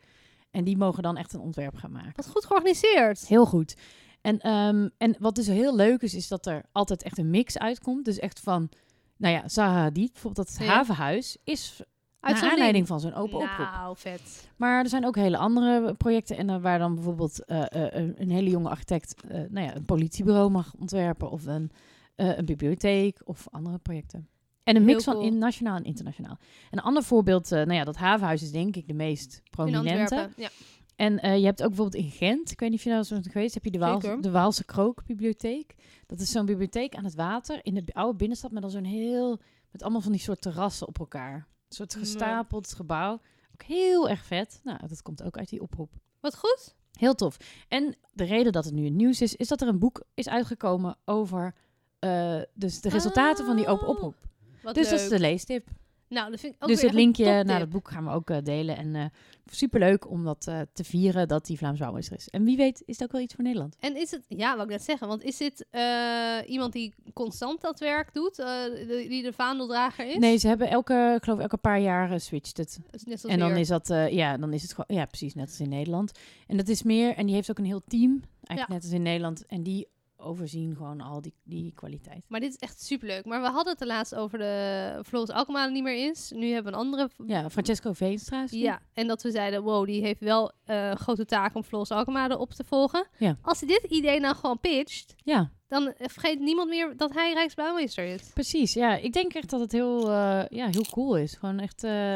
Speaker 2: En die mogen dan echt een ontwerp gaan maken.
Speaker 1: Wat goed georganiseerd.
Speaker 2: Heel goed. En, ehm, en wat dus heel leuk is, is dat er altijd echt een mix uitkomt. Dus echt van, nou ja, Zaha Hadid, bijvoorbeeld dat
Speaker 1: Ja.
Speaker 2: havenhuis, is
Speaker 1: Uit
Speaker 2: naar
Speaker 1: zo'n
Speaker 2: aanleiding
Speaker 1: ding.
Speaker 2: van zo'n open oproep.
Speaker 1: Nou, vet.
Speaker 2: Maar er zijn ook hele andere projecten. En eh, waar dan bijvoorbeeld eh, eh, een- een hele jonge architect eh, nou ja, een politiebureau mag ontwerpen. Of een, eh, een bibliotheek of andere projecten. En een
Speaker 1: Heel
Speaker 2: mix van
Speaker 1: cool.
Speaker 2: in, nationaal en internationaal. Een ander voorbeeld, eh, nou ja, dat havenhuis is denk ik de meest
Speaker 1: In
Speaker 2: prominente.
Speaker 1: Antwerpen. Ja.
Speaker 2: En eh, je hebt ook bijvoorbeeld in Gent, ik weet niet of je daar zo bent geweest, heb je de, Waals,
Speaker 1: Zeker.
Speaker 2: de Waalse Krookbibliotheek. Dat is zo'n bibliotheek aan het water in de bi- oude binnenstad met dan zo'n heel, met allemaal van die soort terrassen op elkaar. Een soort
Speaker 1: Mooi.
Speaker 2: gestapeld gebouw. Ook heel erg vet. Nou, dat komt ook uit die oproep.
Speaker 1: Wat goed.
Speaker 2: Heel tof. En de reden dat het nu in het nieuws is, is dat er een boek is uitgekomen over eh, dus de resultaten van die open
Speaker 1: Oh,
Speaker 2: oproep.
Speaker 1: Wat
Speaker 2: Dus
Speaker 1: leuk.
Speaker 2: dat is de leestip.
Speaker 1: Nou, dat vind ik ook
Speaker 2: dus
Speaker 1: weer
Speaker 2: het
Speaker 1: echt een
Speaker 2: linkje
Speaker 1: toptip.
Speaker 2: naar het boek gaan we ook eh, delen. En eh superleuk om dat eh, te vieren dat die Vlaams Bouwmeester is. En wie weet is het ook wel iets voor Nederland.
Speaker 1: En is het, ja, wat ik net zeggen, want is dit eh, iemand die constant dat werk doet, eh, de- die de vaandeldrager is?
Speaker 2: Nee, ze hebben elke, ik geloof elke paar jaar eh, switcht het.
Speaker 1: Dat is Net zoals
Speaker 2: En dan
Speaker 1: weer-
Speaker 2: is dat, eh, ja, dan is het gewoon, ja, precies net als in Nederland. En dat is meer, en die heeft ook een heel team, eigenlijk
Speaker 1: Ja.
Speaker 2: net als in Nederland. En die overzien gewoon al die, die kwaliteit.
Speaker 1: Maar dit is echt superleuk. Maar we hadden het er laatst over de Floris Alkmaar die niet meer is. Nu hebben we een andere.
Speaker 2: Ja, Francesco Veenstra is die.
Speaker 1: Ja, en dat we zeiden, wow, die heeft wel eh, een grote taak om Floris Alkmaar op te volgen.
Speaker 2: Ja.
Speaker 1: Als hij dit idee nou gewoon pitcht,
Speaker 2: Ja,
Speaker 1: dan eh, vergeet niemand meer dat hij Rijksbouwmeester is.
Speaker 2: precies. Ja, ik denk echt dat het heel, eh, ja, heel cool is. Gewoon echt eh,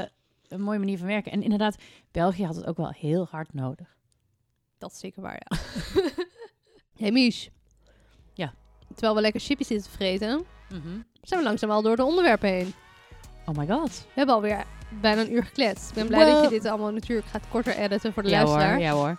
Speaker 2: een mooie manier van werken. En inderdaad, België had het ook wel heel hard nodig.
Speaker 1: Dat is zeker waar,
Speaker 2: [LAUGHS]
Speaker 1: ja. hey Mies.
Speaker 2: Ja.
Speaker 1: Terwijl we lekker chipjes zitten te vreten, zijn we langzaam al door de onderwerpen heen.
Speaker 2: Oh my god.
Speaker 1: We hebben alweer bijna een uur gekletst. Ik ben blij dat je
Speaker 2: Wow.
Speaker 1: dit allemaal natuurlijk gaat korter editen voor de
Speaker 2: ja
Speaker 1: luisteraar.
Speaker 2: hoor, ja hoor.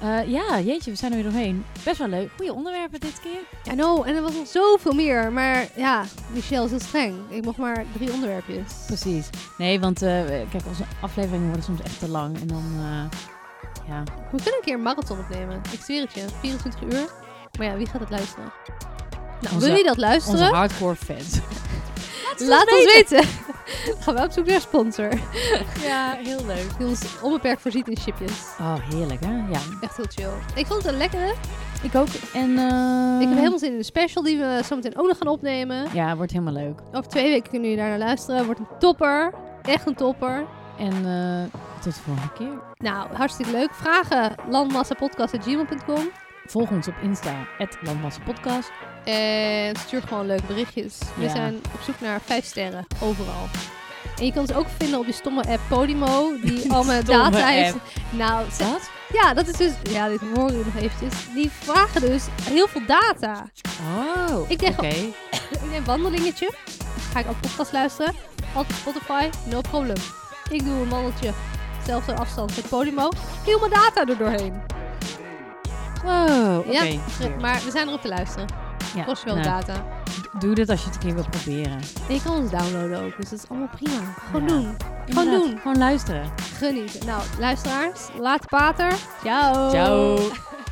Speaker 2: Eh, ja, jeetje, we zijn er weer doorheen. Best wel leuk. Goede onderwerpen dit keer.
Speaker 1: I know, en er was nog zoveel meer. Maar ja, Michelle is heel streng. Ik mocht maar drie onderwerpjes.
Speaker 2: Precies. Nee, want eh, kijk, onze afleveringen worden soms echt te lang. En dan, eh, ja.
Speaker 1: We kunnen een keer een marathon opnemen. Ik zweer het je. 24 uur. Maar ja, wie gaat het luisteren? Nou,
Speaker 2: Onze-
Speaker 1: wil je dat
Speaker 2: Onze
Speaker 1: luisteren?
Speaker 2: hardcore fans.
Speaker 1: Laat ons weten. Dan [LAUGHS] gaan we op zoek naar een sponsor.
Speaker 2: Ja, heel leuk.
Speaker 1: Die ons onbeperkt voorziet in chipjes.
Speaker 2: Oh, heerlijk hè? Ja.
Speaker 1: Echt heel chill. Ik vond het een lekkere.
Speaker 2: Ik ook. En, eh,
Speaker 1: Ik heb helemaal zin in de special die we zo meteen ook nog gaan opnemen.
Speaker 2: Ja, wordt helemaal leuk.
Speaker 1: Over twee weken kunnen jullie daar naar luisteren. Wordt een topper. Echt een topper.
Speaker 2: En eh, tot de volgende keer.
Speaker 1: Nou, hartstikke leuk. Vragen landmassapodcast.gmail.com
Speaker 2: Volg ons op Insta, Landmassenpodcast.
Speaker 1: En stuur gewoon leuke berichtjes. We
Speaker 2: Ja.
Speaker 1: zijn op zoek naar vijf sterren, overal. En je kan ze ook vinden op die stomme app Podimo,
Speaker 2: [LAUGHS]
Speaker 1: die al mijn
Speaker 2: Stomme
Speaker 1: data heeft.
Speaker 2: app.
Speaker 1: Nou, ze-
Speaker 2: Wat?
Speaker 1: ja, dat is dus... Ja, dit horen jullie nog eventjes. Die vragen dus heel veel data.
Speaker 2: Oh,
Speaker 1: Ik
Speaker 2: ik
Speaker 1: denk-
Speaker 2: denk...
Speaker 1: Ik neem wandelingetje. Ga ik ook podcast luisteren. Altijd Spotify, no problem. Ik doe een wandeltje. Zelfde afstand met Podimo. Heel mijn data er doorheen.
Speaker 2: Wow, oké.
Speaker 1: Ja,
Speaker 2: Weird.
Speaker 1: Maar we zijn erop te luisteren.
Speaker 2: Ja,
Speaker 1: Kost wel
Speaker 2: nou,
Speaker 1: data.
Speaker 2: Doe dit als je het een keer wil proberen.
Speaker 1: En je kan ons downloaden ook, dus dat is allemaal prima. Gewoon
Speaker 2: Ja.
Speaker 1: doen. Gewoon
Speaker 2: Inderdaad,
Speaker 1: doen.
Speaker 2: Gewoon luisteren.
Speaker 1: Genieten. Nou, luisteraars, laat pater. Ciao.
Speaker 2: Ciao.